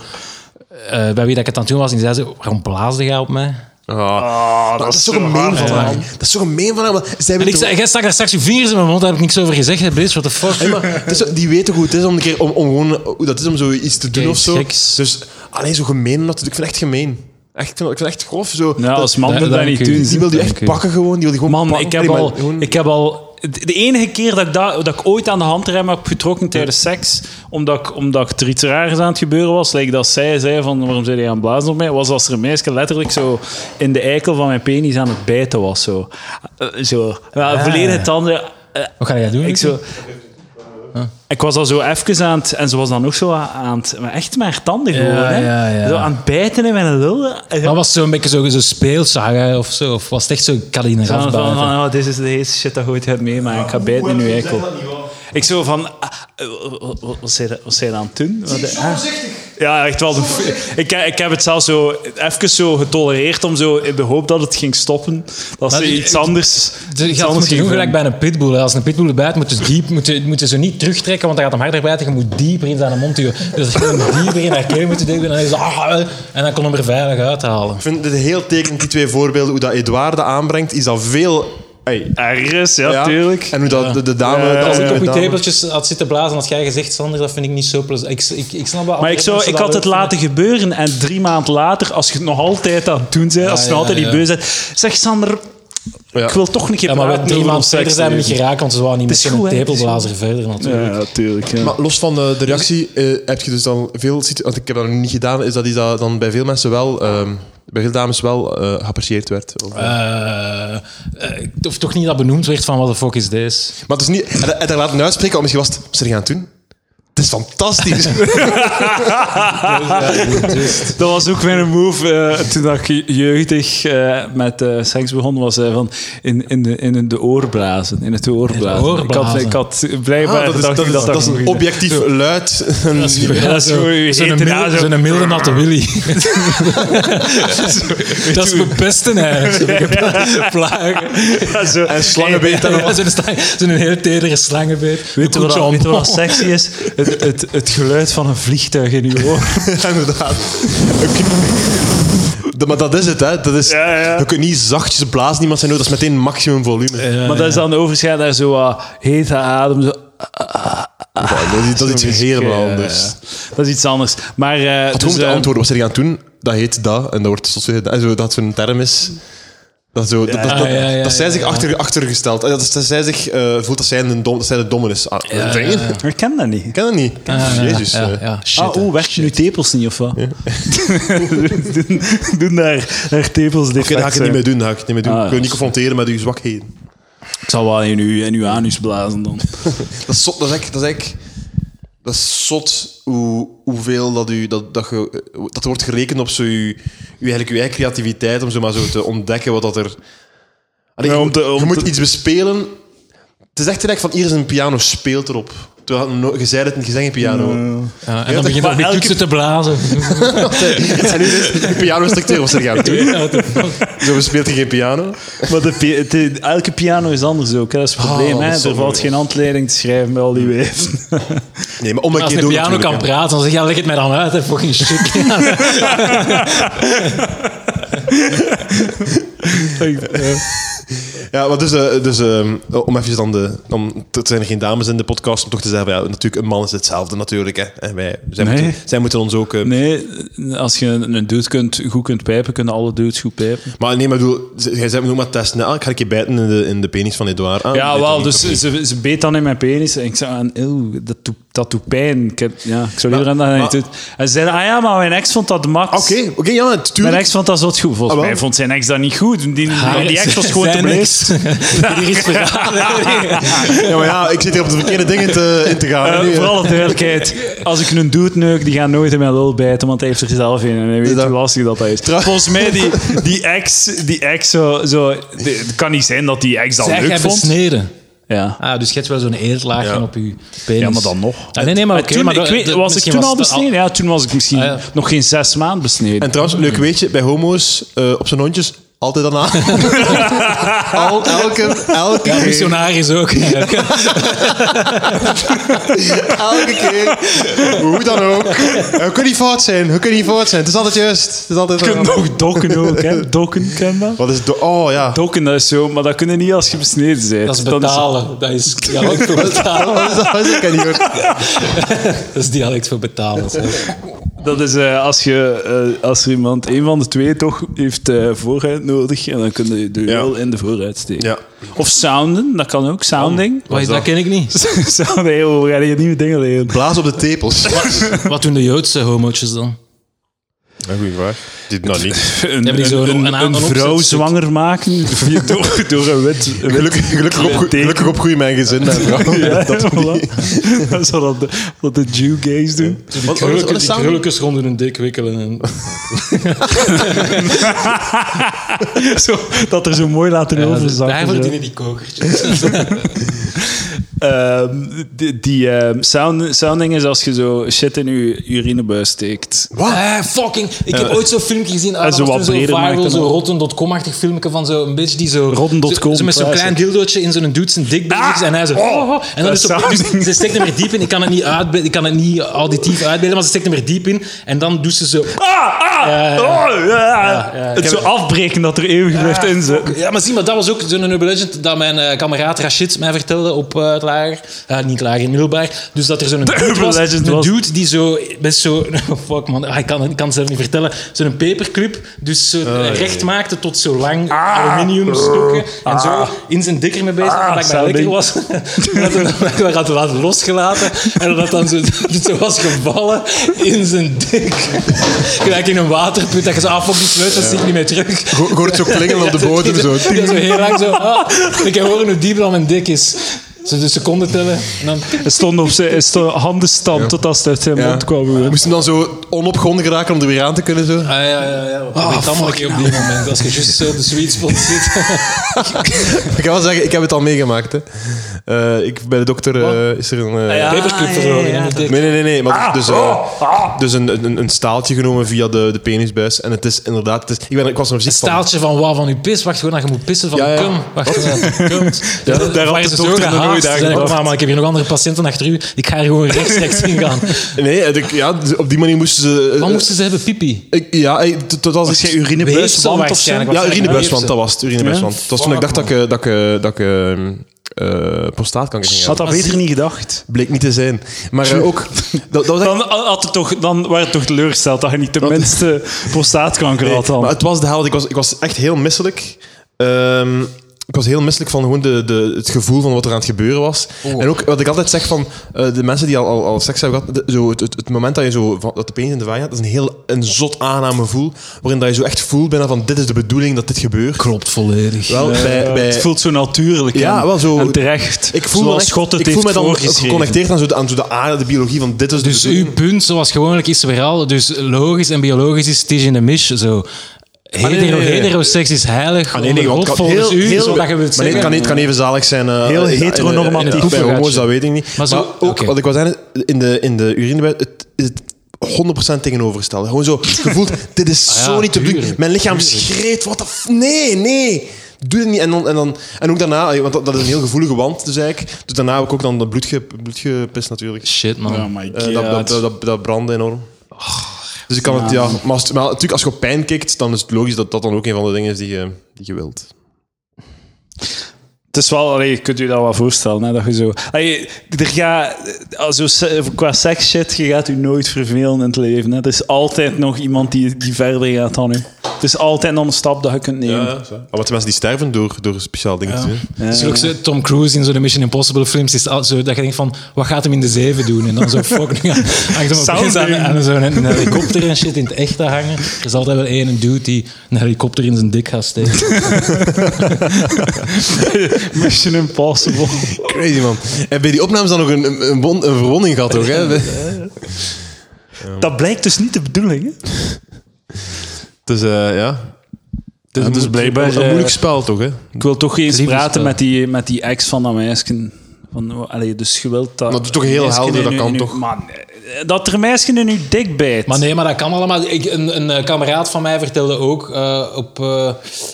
S3: eh, bij wie dat ik het aan toen was, en die zei zo, waarom blaasde jij op mij?
S2: Ah, dat, is toch een meen van haar. Dat is toch een meen van haar. want Zij
S3: En
S2: weet
S3: ik zei, jij stak daar straks je vingers in mijn mond, daar heb ik niks over gezegd, hè, bitch, what the fuck.
S2: toch- maar het is zo- die weten hoe het is om, een keer, om, om gewoon, hoe dat is om zoiets te doen
S3: Oké,
S2: of zo.
S3: geks.
S2: Dus alleen zo gemeen natuurlijk. Ik vind het echt gemeen. Echt, ik, vind, ik vind het echt grof. Zo,
S1: Nou,
S2: Dat-
S1: als man
S3: dat-
S1: moet dat
S3: dat
S1: niet
S3: kun je-
S1: doen.
S2: die wil die echt
S3: Dank u.
S2: pakken gewoon. Die wil die gewoon
S1: Man,
S2: pakken.
S1: ik heb,
S2: Nee, maar
S1: al,
S2: gewoon-
S1: ik heb al. De enige keer dat ik, dat, dat ik ooit aan de handrem heb getrokken tijdens seks, omdat ik, omdat ik er iets raars aan het gebeuren was, like dat zij zei van waarom zei hij aan het blazen op mij, was als er een meisje letterlijk zo in de eikel van mijn penis aan het bijten was. Zo. Eh, zo. Ja, Volledige tanden. eh,
S3: Wat ga jij doen?
S1: ik zo. Ah. Ik was al zo even aan het... En ze was dan ook zo aan het... Maar echt maar tanden gewoon, hè.
S3: ja, ja.
S1: Zo aan het bijten in mijn lul.
S3: Maar was het zo'n beetje zo, zo speelzagen of zo? Of was het echt zo Kalina
S1: Van, van, van,
S3: afbuiten?
S1: oh, dit is de eerste shit dat je ooit hebt meemaken. Ik ga bijten in uw eikel. Ik zo van... ah, eh, wat- wat- Wat zei dat- wat zei je dan toen? Wat, eh, ah. Ja, echt wel. de f- Ik, he- ik heb het zelfs zo even zo getolereerd om zo in de hoop dat het ging stoppen. Dat
S3: Maar
S1: ze
S3: die-
S1: iets anders...
S3: Dus Je
S1: iets anders
S3: gaat moeten
S1: ging
S3: doen
S1: vinden.
S3: gelijk bij een pitbull. hè. Als een pitbull bijt, moet je diep, moet je, moet je zo niet terugtrekken, want dan gaat hem harder bijten. Je moet dieper in zijn mond duwen. Dus je moet dieper in haar keel moeten duwen. En dan, is het, ah, eh, en dan kon hem er veilig uithalen.
S2: Ik vind dit heel tekenend, die twee voorbeelden. Hoe dat Edouard dat aanbrengt, is dat veel... Ey,
S1: Ergens, ja,
S2: ja.
S1: tuurlijk.
S2: En hoe dat de, de dame...
S1: Ja,
S2: dat
S1: ja,
S3: Als
S2: de
S3: ik op je
S2: dame-
S3: tepeltjes had zitten blazen, had jij gezegd, Sander, dat vind ik niet zo plezant. Ik, ik, ik snap
S1: Maar
S3: wel andere
S1: ik, zou,
S3: mensen
S1: ik
S3: dat
S1: had het
S3: leuk vinden.
S1: laten gebeuren en drie maanden later, als je het nog altijd aan het doen bent, als je nog
S3: ja,
S1: altijd
S3: ja.
S1: niet beu bent, zeg Sander,
S2: Ja.
S1: ik wil toch een keer
S3: Ja, maar we
S1: praten
S3: drie
S1: over
S3: maanden
S1: ons
S3: verder zijn we niet
S1: seksleven.
S3: geraakt, want ze waren niet
S1: Het
S3: met
S1: is
S3: een
S1: goed, hè.
S3: tepelblazer verder natuurlijk.
S1: Ja, natuurlijk. Ja.
S2: Maar los van de, de reactie eh, heb je dus dan veel situ- want ik heb dat nog niet gedaan, is dat die da- dan bij veel mensen wel, ehm, bij veel dames wel eh, geapprecieerd werd. Of-
S3: Eh, eh, of toch niet dat benoemd werd van wat de fuck is deze.
S2: maar het is niet, en, en daar laten uitspreken, want misschien was het, wat zijn gaan doen? Het is fantastisch.
S1: Dat was ook mijn move eh, toen dat ik jeugdig eh, met eh, seks begon, was eh, van in, in, de, in de oor blazen. In Ah, het oor blazen.
S3: oorblazen.
S1: Ik had, ik had blijkbaar
S2: dat, is,
S1: gedacht
S2: dat, is, dat is een
S1: goed
S2: objectief luid.
S1: Ja, dat is gewoon je
S3: Zo'n
S1: hete naam,
S3: milde,
S1: zo.
S3: zo'n milde natte Willy. dat is bepesten eigenlijk. Pla- Plagen.
S1: Ja, zo.
S2: en slangenbeet. en-
S3: Ja, Zo'n sta- zo'n hele tedere slangenbeet.
S1: Weet je
S3: Een
S1: wat,
S3: koetje
S1: weet je wat
S3: om-
S1: sexy is? Het, het, het geluid van een vliegtuig in je oor.
S2: Inderdaad. Oké. Dat- Maar dat is het, hè. Dat is,
S1: Ja, ja.
S2: Je kunt niet zachtjes blazen, niemand zijn nodig. Dat is meteen maximum volume.
S1: maar dat is dan overschijn naar zo wat hete adem. Zo,
S2: dat is, dat is iets
S1: Zo'n
S2: helemaal
S1: beetje,
S2: anders.
S1: ja, ja. Dat is iets anders. Maar eh,
S2: Het
S1: dus,
S2: gewoon
S1: eh,
S2: te antwoorden wat ze gaan doen, dat heet dat. En dat wordt tot zo, en zo, dat zo'n term is. Dat, zo, dat, dat, dat,
S3: ja, ja,
S2: dat zij
S3: ja,
S2: zich achter, achtergesteld. eh, Dat, dat zij zich eh, voelt dat zij, een dom, dat zij de domme is. Ah, nee, Ik
S1: Ik ken dat niet.
S2: ken dat niet. Jezus.
S3: Ah, Ja,
S2: eh.
S3: ja, shit.
S1: Ah, oh, werken nu tepels niet of wat? doen, doen daar, daar tepels
S2: Oké, dan ga ik het niet
S3: eh,
S2: meer doen. dan Ga ik, het niet meer doen.
S1: Ah,
S2: ik wil niet confronteren met uw zwakheden.
S1: Ik zal wel in uw, in uw anus blazen dan.
S2: Dat is zot. Dat is echt... Dat is echt dat is zot hoe, hoeveel dat, u, dat, dat, ge, dat er wordt gerekend op zo uw, uw, eigenlijk uw eigen creativiteit om zo maar zo te ontdekken wat dat er... Allee,
S1: Ja,
S2: je
S1: om
S2: moet-
S1: te- om
S2: je moet
S1: te-
S2: iets bespelen. Het is echt direct van hier is een piano, speelt erop. Terwijl hij no- je zei het en je zegt geen piano.
S3: Ja, en dan begint hij
S1: maar
S3: op die
S1: elke-
S3: toetsen te blazen.
S2: En nu is het piano-instructeur, wat zeg je aan het doen? Zo speelt hij geen piano.
S1: Maar de pi- het- de- elke piano is anders ook. hè. Dat is het probleem.
S2: Ah, dat
S1: hè.
S2: is zo
S1: Er valt
S2: moeilijk.
S1: geen handleiding te schrijven bij al die wijven.
S2: Nee, maar om een
S3: Als
S2: keer
S3: een
S2: doen
S3: piano kan
S2: natuurlijk, hè.
S3: praten, dan zeg je, ja, leg het mij dan uit, hè, fucking shit.
S2: Ja, maar dus, eh, dus ehm, om even dan de... Om, er zijn geen dames in de podcast, om toch te zeggen, ja, natuurlijk, een man is hetzelfde natuurlijk. Hè. En wij, zij,
S1: Nee.
S2: moeten, zij moeten ons ook... eh,
S1: Nee, als je een een dude kunt, goed kunt pijpen, kunnen alle dudes goed pijpen.
S2: Maar nee, maar ik bedoel, z- jij zei me ook maar testen. Ah, ik ga een keer bijten in de, in de penis van Edouard. Ah,
S1: Ja,
S2: dit
S1: wel.
S2: niet,
S1: Dus
S2: of niet.
S1: ze, ze beet dan in mijn penis. En ik zei aan, eeuw, dat doet, dat doet pijn. Ik, heb, ja, ik zou
S2: Maar-
S1: liever aan dat hij
S2: maar-
S1: niet doet. En ze zeiden, ah ja, maar mijn ex vond dat max.
S2: Ah, Oké, oké, ja,
S1: Mijn
S2: tuurlijk.
S1: ex vond dat zot goed. Volgens
S2: Ah, wel. Ah,
S1: mij vond zijn ex dat niet goed. Die, die, die ex was gewoon te
S3: Zijn
S1: bleek. Eh,
S3: ex. Die is verraden.
S1: nou
S2: Ja, maar ja, ik zit hier op de verkeerde dingen te, in te gaan. hè,
S1: Eh,
S2: nu, hè.
S1: voor alle duidelijkheid, als ik een dude neuk, die gaat nooit in mijn lul bijten, want hij heeft er zelf in. En hij weet
S2: dat-
S1: hoe lastig dat hij is.
S2: Trouw-
S1: Volgens mij, die, die ex, die ex zo, zo de- het kan niet zijn dat die ex dat
S3: Zeg,
S1: leuk
S3: jij
S1: vond.
S3: besneden.
S1: Ja.
S3: Ah, dus je hebt wel zo'n eerlaagje op je penis.
S1: ja, maar dan nog.
S3: Ah, nee, nee, maar
S1: En
S3: oké,
S1: toen,
S3: maar
S1: ik
S3: dat-
S1: weet,
S3: dat-
S1: was ik
S3: misschien
S1: toen
S3: was
S1: al
S3: het al-
S1: besneden? Ja, toen was ik misschien
S3: Ah, ja.
S1: nog geen zes maanden besneden.
S2: En trouwens, leuk weetje, bij homo's eh, op zijn hondjes altijd daarna. Al, elke, elke,
S3: Ja,
S2: keer,
S3: missionaris ook.
S2: elke keer. Hoe dan ook. Hoe kan niet fout zijn? Hoe kan niet fout zijn? Het is altijd juist. Het is altijd eh,
S1: je kunt nog dokken ook, hè? Dokken, ken dat?
S2: Wat is do- Oh ja.
S1: Dokken, dat is zo, maar dat kunnen niet als je besneden bent.
S3: Dat is
S1: Dan
S3: betalen. Dat is dialect voor betalen.
S2: Wat is dat? Wat is dat? Ik ken niet hoor.
S3: Dat is dialect voor betalen. zeg.
S1: Dat is eh, als, je, eh, als er iemand, een van de twee, toch heeft eh, vooruit nodig. En dan kun je de
S2: Ja.
S1: wel in de vooruit steken.
S2: Ja.
S1: Of sounden, dat kan ook. Sounding.
S3: Wat is dat ken ik niet.
S1: Sounding, heel, we gaan hier nieuwe dingen leren.
S2: Blaas op de tepels.
S3: Wat doen de Joodse homootjes dan?
S2: goeie vraag. Dit nou niet.
S1: Een,
S3: die zo
S1: een,
S3: een-
S1: een,
S3: een aan-
S1: een
S3: een
S1: vrouw
S3: opzet-
S1: zwanger maken via- door, door een wit. een wit
S2: Gelukkig, gelukkig, op,
S1: teken.
S2: gelukkig opgroeien mijn gezin. Mijn vrouw. dat
S1: Voilà. Dat is wat de, wat de Jew gays doen.
S2: Wat- wat- wat is sounding?
S3: krulletjes rond hun dik wikkelen. En...
S1: Zo, dat er zo mooi laten overzakken.
S3: Daar
S1: zo.
S3: verdienen die kokertjes.
S1: Ehm, die die ehm, sound, sounding is als je zo shit in je urinebuis steekt.
S3: Wat? Eh, fucking. Ik heb ooit zo'n filmpje gezien. Ah,
S1: en zo
S3: dat was
S1: wat
S3: toen zo'n
S1: breder maakt
S3: viral,
S1: dan
S3: zo'n
S1: ook.
S3: rotten.com-achtig filmpje van zo'n bitch die zo...
S1: Rotten.com,
S3: zo- zo Met zo'n
S1: classic.
S3: klein dildootje in zo'n dude zijn dik bezig is. En hij zo... oh, oh.
S1: dat
S3: en dan is zo,
S1: zou-
S3: dus ze steekt hem er diep in. Ik kan het niet uitbeelden. Ik kan het niet auditief uitbeelden, maar ze steekt hem er diep in. En dan doet ze zo...
S1: Ah, ah,
S3: ja,
S1: oh, ja. Het zo afbreken dat er eeuwig blijft in zitten.
S3: Ja, maar zie, maar dat was ook zo'n Urban Legend dat mijn eh, kameraad Rashid mij vertelde op eh, het lager. Eh, niet lager, in middelbaar. Dus dat er zo'n dude
S1: Urban
S3: was,
S1: Legend
S3: een
S1: was-
S3: dude die zo... Best zo fuck man, ah, ik kan, ik kan het zelf niet vertellen. Zo'n paperclip, dus zo recht maakte tot zo lang aluminium stokken. En zo in zijn dikker mee bezig,
S1: Ah,
S3: omdat ik
S1: sorry.
S3: lekker was. dat hij dat hij had laten losgelaten. En dat dat dan zo, dat zo was gevallen in zijn dik. Gelijk in een waterput. Dat je zo, ah fuck, die sleutel zie ik niet meer terug.
S2: Go- je hoort zo klingelen op de bodem. Zo.
S3: Ja, zo heel lang zo. ah, ik kan horen hoe diep dan mijn dik is. Zo de seconden tellen. En dan,
S1: Hij stond op zijn hij stond handenstand totdat het uit zijn mond kwam.
S2: Moest hem dan zo onopgewonden geraken om er weer aan te kunnen. Zo.
S3: ah ja, ja, ja. Dat weet allemaal niet op die moment. Als je juist zo op de sweet spot zit.
S2: Ik kan wel zeggen, ik heb het al meegemaakt. Hè. Eh, ik, bij de dokter eh, is er een...
S1: Ah
S2: eh,
S3: Paperclip verzorgen in de dik.
S2: Nee, nee, nee. nee. Maar dus eh, dus een, een, een staaltje genomen via de, de penisbuis. En het is inderdaad... Het is, ik, ben, ik was er muziek van.
S3: Staaltje van waar van uw pis. Wacht gewoon, dat je moet pissen van
S2: Ja, ja.
S3: cum. Wacht, eh, cum. Ja,
S1: daar had de
S3: ze zo
S1: dokter nog
S3: gehaast.
S1: nooit
S3: Ze
S1: aan
S3: zeiden,
S1: gedacht.
S3: "Mama, ik heb hier nog andere patiënten achter u. Ik ga hier gewoon rechtstreeks in gaan.
S2: Nee, eh, ik- ja, dus op die manier moesten ze... eh,
S3: Wat moesten ze hebben? Pipi?
S2: ik, ja, eh, tot- tot als ik...
S3: Weefsel waarschijnlijk.
S2: Ja, urinebuiswand,
S3: Weefsel.
S2: dat was het. Urinebuiswand. Het was toen ik dacht dat ik, eh, dat ik, eh, dat ik eh, eh, prostaatkanker ging
S1: Had
S2: hebben.
S1: dat beter niet gedacht.
S2: Bleek niet te zijn. Maar eh, ook... Dat, dat was echt-
S1: Dan, had het toch, dan waren het toch teleurgesteld dat je niet tenminste prostaatkanker had
S2: Nee,
S1: dan.
S2: Maar het was de held. Ik was, ik was echt heel misselijk. Ehm, ik was heel misselijk van gewoon de, de, het gevoel van wat er aan het gebeuren was.
S1: Oh.
S2: En ook wat ik altijd zeg van eh, de mensen die al, al, al seks hebben gehad. de- zo, het, het, het moment dat je zo van, dat de penis in de vagina gaat, dat is een heel een zot aangenaam gevoel. Waarin dat je zo echt voelt bijna van dit is de bedoeling dat dit gebeurt.
S3: Klopt volledig.
S2: Wel, Oh, bij, bij,
S1: Eh, het voelt zo natuurlijk
S2: Ja,
S1: en,
S2: wel zo-
S1: en terecht.
S2: ik voel, me
S1: Zoals
S2: echt-
S1: God het
S2: ik voel me
S1: heeft
S2: dan
S1: voorgeschreven.
S2: geconnecteerd aan, zo de, aan zo de aarde, de biologie van dit is de
S3: Dus
S2: bedoeling.
S3: uw punt, zoals gewoonlijk, is weer al. Dus logisch en biologisch is het is in de mis. Zo.
S6: Hetero,
S2: Ah, nee, nee, nee.
S6: Heteroseks is heilig.
S2: Ah, nee, nee,
S6: onder God,
S2: want het kan
S6: volgens
S2: heel,
S6: u,
S2: heel,
S6: zo dat je wilt
S2: maar nee, het, kan,
S6: zeggen.
S2: niet- het kan even zalig zijn. eh,
S1: Heel
S2: in- in- in-
S1: heteronormatief.
S2: in- in- Bij homo's,
S6: Poepengaatje.
S2: dat weet ik niet.
S6: Maar
S2: Maar,
S6: zo-
S2: ook,
S6: oké.
S2: wat ik wil zeggen, in de, in de urinewet het, is het 100% tegenovergestelde. Gewoon zo, gevoeld, dit is
S6: Ah ja,
S2: zo niet te bedoelen.
S6: tuurlijk,
S2: Mijn lichaam schreeuwt, wat de... f- Nee, nee. Doe het niet. En, dan, en, dan, en ook daarna, eh, want dat, dat is een heel gevoelige wand, dus eigenlijk. Dus daarna heb ik ook dan dat bloed, ge, bloed gepist, natuurlijk.
S6: Shit, man.
S1: Oh my
S2: Eh,
S1: god.
S2: dat, dat, dat, dat, dat brandde enorm.
S6: Oh,
S2: dus ik kan het, ja. Maar, als, maar natuurlijk, als je op pijn kikt, dan is het logisch dat dat dan ook een van de dingen is die je, die je wilt.
S1: Het is wel, allee, je kunt je dat wel voorstellen, hè, dat je zo... Allee, er ga, also, qua seks shit, je gaat je nooit vervelen in het leven. Hè. Er is altijd nog iemand die, die verder gaat dan u. Het is altijd nog een stap dat je kunt nemen.
S2: Ja, maar wat de mensen die sterven door, door speciaal dingen te doen.
S1: Ja.
S3: Het is Dus ook zo, Tom Cruise in zo'n Mission Impossible films is al zo dat je denkt van wat gaat hem in de zeven doen en dan zo fuck nu hangt hem opeens aan, aan zo'n een helikopter en shit in het echt te hangen. Er is altijd wel één dude die een helikopter in zijn dik gaat steken.
S1: Mission Impossible.
S2: Crazy man. En bij die opnames dan nog een, een, een, won- een verwonding gehad, toch? Hè?
S1: Dat blijkt dus niet de bedoeling. Hè?
S2: Dus eh, ja. Het is
S1: dus
S2: moe-
S1: blijkbaar,
S2: een,
S1: eh,
S2: moeilijk spel, toch? Hè?
S1: Ik wil toch eens
S6: Liefdespel.
S1: praten met die, met die ex van dat meisje. Van, oh, allee, dus je wilt dat...
S2: Maar dat is toch heel
S1: meisje
S2: helder,
S1: in
S2: dat
S1: uw-
S2: kan
S1: in uw-
S2: toch?
S1: Man, eh, dat er een meisje in je dik bijt.
S3: Maar nee, maar dat kan allemaal. Ik, een, een eh, kameraad van mij vertelde ook eh, op, eh,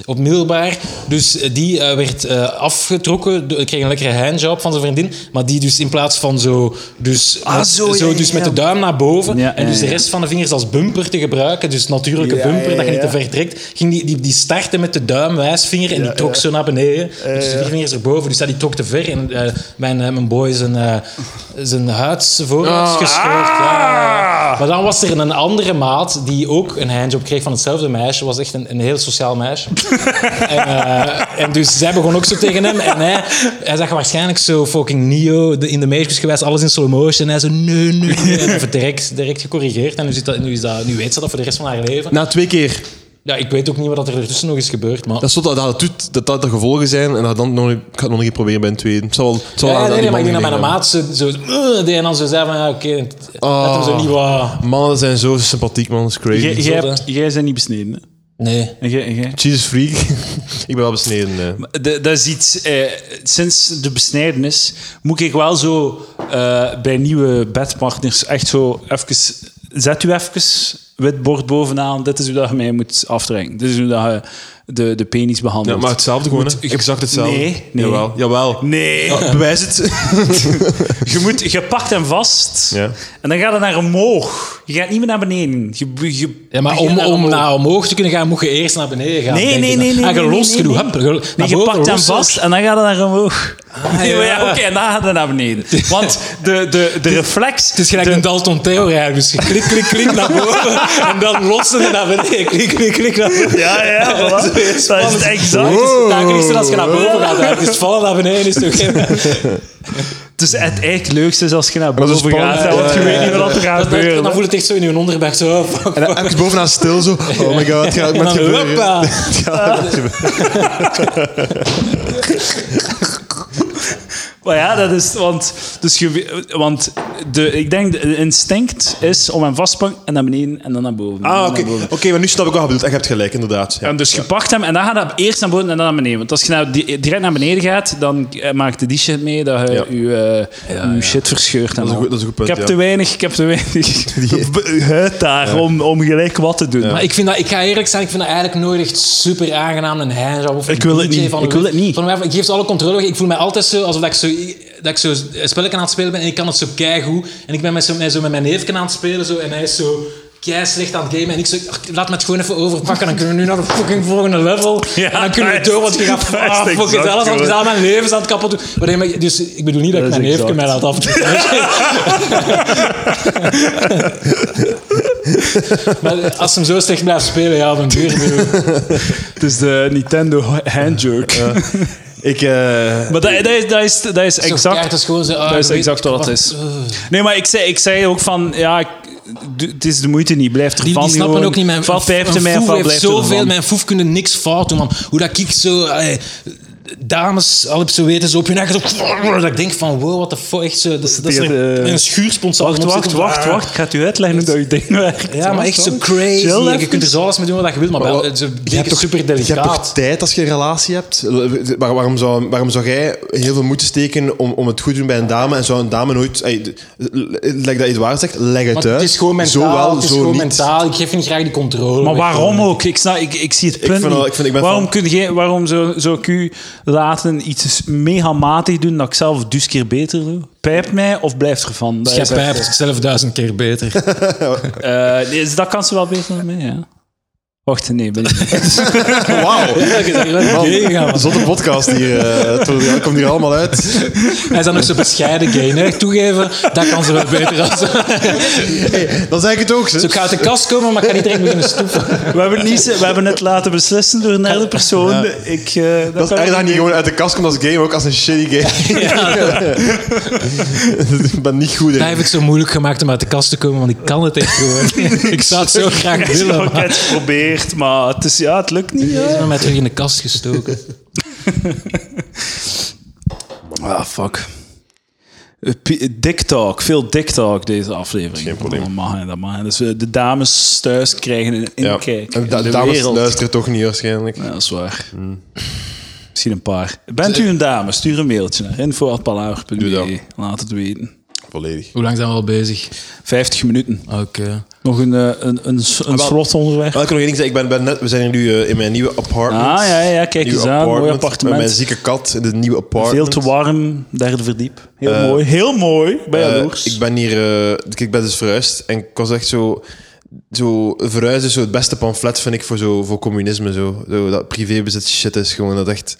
S3: op middelbaar. Dus eh, die eh, werd eh, afgetrokken. do- kreeg een lekkere handjob van zijn vriendin. Maar die dus in plaats van zo... Dus,
S1: Ah,
S3: met,
S1: zo, ja, ja,
S3: dus
S1: ja.
S3: met de duim naar boven.
S1: Ja,
S3: en dus
S1: ja,
S3: de
S1: ja.
S3: rest van de vingers als bumper te gebruiken. Dus natuurlijke
S1: Ja,
S3: bumper,
S1: ja,
S3: dat je niet
S1: ja.
S3: te ver trekt. Ging die, die, die startte met de duim, wijsvinger. En die trok zo naar beneden. dus de vier vingers erboven. Dus dat die trok te ver. En eh, mijn, eh, mijn boy zijn, eh, zijn huid vooruit
S2: Ah.
S3: gescheurd. Ja. Maar dan was er een andere maat die ook een handjob kreeg van hetzelfde meisje. Was echt een, een heel sociaal meisje. en, eh, en dus zij begon ook zo tegen hem. En hij, hij zag waarschijnlijk zo fucking Neo de- in de Matrix geweest, alles in slow motion. En hij zo, nee, nee, nee. En hij werd direct, direct gecorrigeerd. En nu, zit dat, nu, is dat, nu weet ze dat voor de rest van haar leven.
S2: Na twee keer.
S3: Ja, ik weet ook niet wat er ertussen nog is gebeurd, maar...
S2: Dat is tot dat dat, doet, dat dat de gevolgen zijn en dat dan nog, ik ga het nog een keer proberen bij een tweede. Het zal, wel- het zal
S3: Ja,
S2: wel
S3: ja,
S2: aan-
S3: nee,
S2: aan
S3: nee, maar ik
S2: die
S3: denk dat mijn
S2: mannen
S3: maat zo, zo "Ugh," deed en dan zo zei van, ja, oké, dat hem zo
S2: Ah.
S3: niet wou.
S2: liggen. Mannen zijn zo sympathiek, man. Dat is crazy.
S1: Jij- Jij
S3: zot,
S1: hebt- jij bent niet besneden. Hè?
S3: Nee.
S1: En jij- en jij?
S2: Jesus freak. ik ben wel besneden. eh.
S1: De- dat is iets, eh, sinds de besnijdenis moet ik wel zo eh, bij nieuwe bedpartners echt zo even, zet u even wit bord bovenaan, dit is hoe dat je mij moet aftrekken. Dit is hoe dat je de, de penis
S2: Ja,
S1: behandelt.
S2: maar hetzelfde gewoon, hè? Exact hetzelfde.
S1: Nee, nee.
S2: Jawel. Jawel.
S1: Nee,
S2: Bewijs het.
S1: je, moet, je pakt hem vast
S2: Ja.
S1: en dan gaat het naar omhoog. Je gaat niet meer naar beneden. Je, je
S3: Ja, maar
S1: begint
S3: om,
S1: naar
S3: om
S1: omhoog.
S3: naar omhoog te kunnen gaan, moet je eerst naar beneden gaan.
S1: Nee,
S3: denk
S1: nee,
S3: ik.
S1: nee, nee,
S3: Ah, je
S1: nee, nee,
S3: lost
S1: nee,
S3: genoeg.
S1: nee.
S3: Hup, je- naar
S1: Nee, je
S3: boven
S1: pakt hem
S3: lossen.
S1: vast en dan gaat het naar omhoog. Nee, maar ja.
S3: ja.
S1: Oké, en dan gaat het naar beneden. Want de, de, de reflex...
S3: Het is gelijk een Dalton Theo eigenlijk. Dus je klik, klik, klik naar boven en dan lossen en naar beneden. Klik, klik, klik naar boven.
S1: Ja, ja, voilà. dat is het exact.
S3: Het is het takelijkste als je naar boven gaat. eigenlijk. Dus vallen naar beneden is toch geen...
S1: Dus het eigenlijk leukste is als je naar
S2: dat is
S1: boven gaat,
S2: spannend.
S1: hè, want je
S2: Ja,
S1: weet niet wat er gaat
S3: Dat- dat-
S1: gebeuren.
S3: Dan
S1: hè.
S3: voel je het echt zo in je onderbuik. Zo, oh, fuck.
S2: En dan ergens bovenaan stil zo. Oh my god, het gaat
S3: En
S2: met
S3: dan,
S2: gebeuren.
S3: hoppa.
S1: Maar ja, dat is... Want, dus je, want de, ik denk, de instinct is om hem vast te pakken en naar beneden en dan naar boven. En
S2: Ah,
S1: dan
S2: oké.
S1: naar boven.
S2: Oké, maar nu snap ik wat je bedoelt. En je hebt gelijk, inderdaad. Ja.
S1: En dus je pakt hem en dan gaat hij eerst naar boven en dan naar beneden. Want als je nou di- direct naar beneden gaat, dan eh, maakt de die shit mee dat je
S2: Ja.
S1: je, eh, je shit verscheurt. En
S2: is een
S1: al.
S2: goed- dat is een goed punt,
S1: Ik heb
S2: ja.
S1: te weinig, ik heb te weinig b- huid daar om, om gelijk wat te doen.
S3: Maar ik, vind dat, ik ga eerlijk zijn, ik vind dat eigenlijk nooit echt super aangenaam, een handjob. Of een
S1: Ik wil het
S3: DJ
S1: niet,
S3: Van
S1: ik wil het niet.
S3: Van mij, ik geef ze alle controle weg. Ik voel mij altijd zo alsof dat ik zo, dat ik zo een spelletje aan het spelen ben en ik kan het zo keigoed. En ik ben met, zo, met, zo met mijn neefje aan het spelen zo, en hij is zo kei slecht aan het gamen. En ik zo, "Ach, laat me het gewoon even overpakken, dan kunnen we nu naar de fucking volgende level.
S1: Ja,
S3: en dan kunnen we
S1: juist.
S3: door, want je gaat
S1: Juist,
S3: ah, fuck it,
S1: exact,
S3: alles aan
S1: jongen.
S3: het mijn leven is aan het kapot doen. Maar nee, maar- Dus ik bedoel niet dat,
S1: Dat is
S3: ik mijn neefje
S1: exact.
S3: mij laat af. Maar als hem zo slecht blijft spelen, ja, dan duur.
S1: Het
S3: dus
S1: is de Nintendo handjerk.
S2: Ik, eh,
S1: Maar dat, dat is, dat is, dat is
S3: Ja,
S1: exact...
S3: het is gewoon zo, ah,
S1: Dat is
S3: weet-
S1: exact wat dat is.
S3: Eh,
S1: Nee, maar ik zei, ik zei ook van... Ja, ik- d- het is de moeite niet. Blijf ervan
S3: Die, die snappen
S1: gewoon.
S3: ook niet. Mijn,
S1: Val
S3: mijn
S1: pijpt er mij,
S3: foef
S1: val
S3: heeft
S1: blijft er
S3: zoveel.
S1: ervan.
S3: Mijn foef kunnen niks fout doen, man. Hoe dat ik zo... allee, eh, dames, al op zo weten, zo op hun eigen... Zo, dat ik denk van, wow, what the fuck. Echt zo, dat, dat is
S1: tegen
S3: er,
S1: de-
S3: een schuurspons zal
S1: Wacht,
S3: erop
S1: wacht,
S3: zitten.
S1: wacht, wacht. Ik ga het u uitleggen hoe dat je ding werkt.
S3: Ja, maar echt zo crazy.
S1: Chill
S3: En je
S1: even.
S3: kunt er zo alles mee doen wat je wilt, maar, wel,
S2: wat-
S3: zo, je toch super
S2: Je hebt toch
S3: delicaat.
S2: tijd als je een relatie hebt? Waar- waarom, zou, waarom zou jij heel veel moeten steken om, om het goed te doen bij een dame? En zou een dame nooit... ey, d- Leg dat Edouard zegt, leg het
S3: Want
S2: uit.
S3: het is gewoon mentaal.
S2: Zo wel,
S3: het is
S2: zo
S3: gewoon
S2: niet.
S3: mentaal. Ik geef niet graag die controle.
S1: Maar
S3: weg.
S1: waarom ook? Ik, snap, ik, ik zie het punt
S2: vind
S1: niet.
S2: wel- ik vind- ik ben
S1: waarom,
S2: van-
S1: kun je, waarom zou, zou ik u laten iets mega matig doen dat ik zelf dus keer beter doe? Pijpt mij of blijft ervan? Dat,
S3: Jij
S1: is echt-
S3: pijpt zelf duizend keer beter.
S1: Eh, nee, dus dat kan ze wel beter dan mij, ja. Wacht, nee, ben ik niet.
S2: Wauw.
S3: Hij
S2: Zotte podcast hier. eh, Tour de Jaan komt hier allemaal uit.
S3: is dan ook zo bescheiden gay. Hè? Toegeven, dat kan ze wel beter. Dan zo.
S2: Hey, dan zeg ik het ook.
S3: Zo, ik
S2: Ze.
S3: ga uit de kast komen, maar ik kan niet direct beginnen stoeven.
S1: We hebben, niet, we hebben het laten beslissen door een derde persoon. Ik, eh, dat
S2: Dat is
S1: kan ik
S2: erg dat hij niet
S1: niet.
S2: gewoon uit de kast komt als game, ook als een shitty game. ik ben niet goed
S3: Daar
S2: in.
S3: heeft het zo moeilijk gemaakt om uit de kast te komen, want ik kan het echt gewoon. Ik zou het zo graag
S1: Ik
S3: willen,
S1: heb
S3: maar
S1: het geprobeerd, maar het, is, ja, het lukt niet.
S3: ze
S1: Ja.
S3: hebben mij terug in de kast gestoken.
S1: Ah, fuck. Eh, P- Dick talk, veel dick talk deze aflevering.
S2: Geen probleem.
S1: Dat mag, hè, dat mag. hè. Dus eh, de dames thuis krijgen een
S2: Ja.
S1: inkijk.
S2: En
S1: in
S2: Eh, da-
S1: de
S2: dames Hmm.
S1: wereld.
S2: luisteren toch niet waarschijnlijk.
S1: Ja, dat is waar. Misschien een paar. Bent u een dame? Stuur een mailtje naar info.palaver.be.
S2: dat.
S1: E. Laat het weten.
S2: Volledig.
S3: Hoe lang zijn we al bezig?
S1: 50 minuten.
S3: Oké.
S1: Nog een, eh, een, een, s-
S2: Ah,
S1: een slotonderwerp.
S2: Maar ik wil nog één ding zeggen. Ik ben, ben net, we zijn hier nu eh, in mijn nieuwe apartment.
S1: Ah, ja, ja, kijk
S2: Nieuwe
S1: eens aan. Mooi
S2: Met mijn
S1: appartement.
S2: zieke kat in het nieuwe apartment.
S1: Veel te warm, derde verdiep. Heel mooi. Heel mooi. Ben
S2: Eh,
S1: jaloers.
S2: ik ben hier... eh, kijk, ik ben dus verhuisd. En ik was echt zo... Zo, verhuizen is zo het beste pamflet, vind ik, voor, zo, voor communisme. Zo. Zo, dat privébezit shit is gewoon dat echt...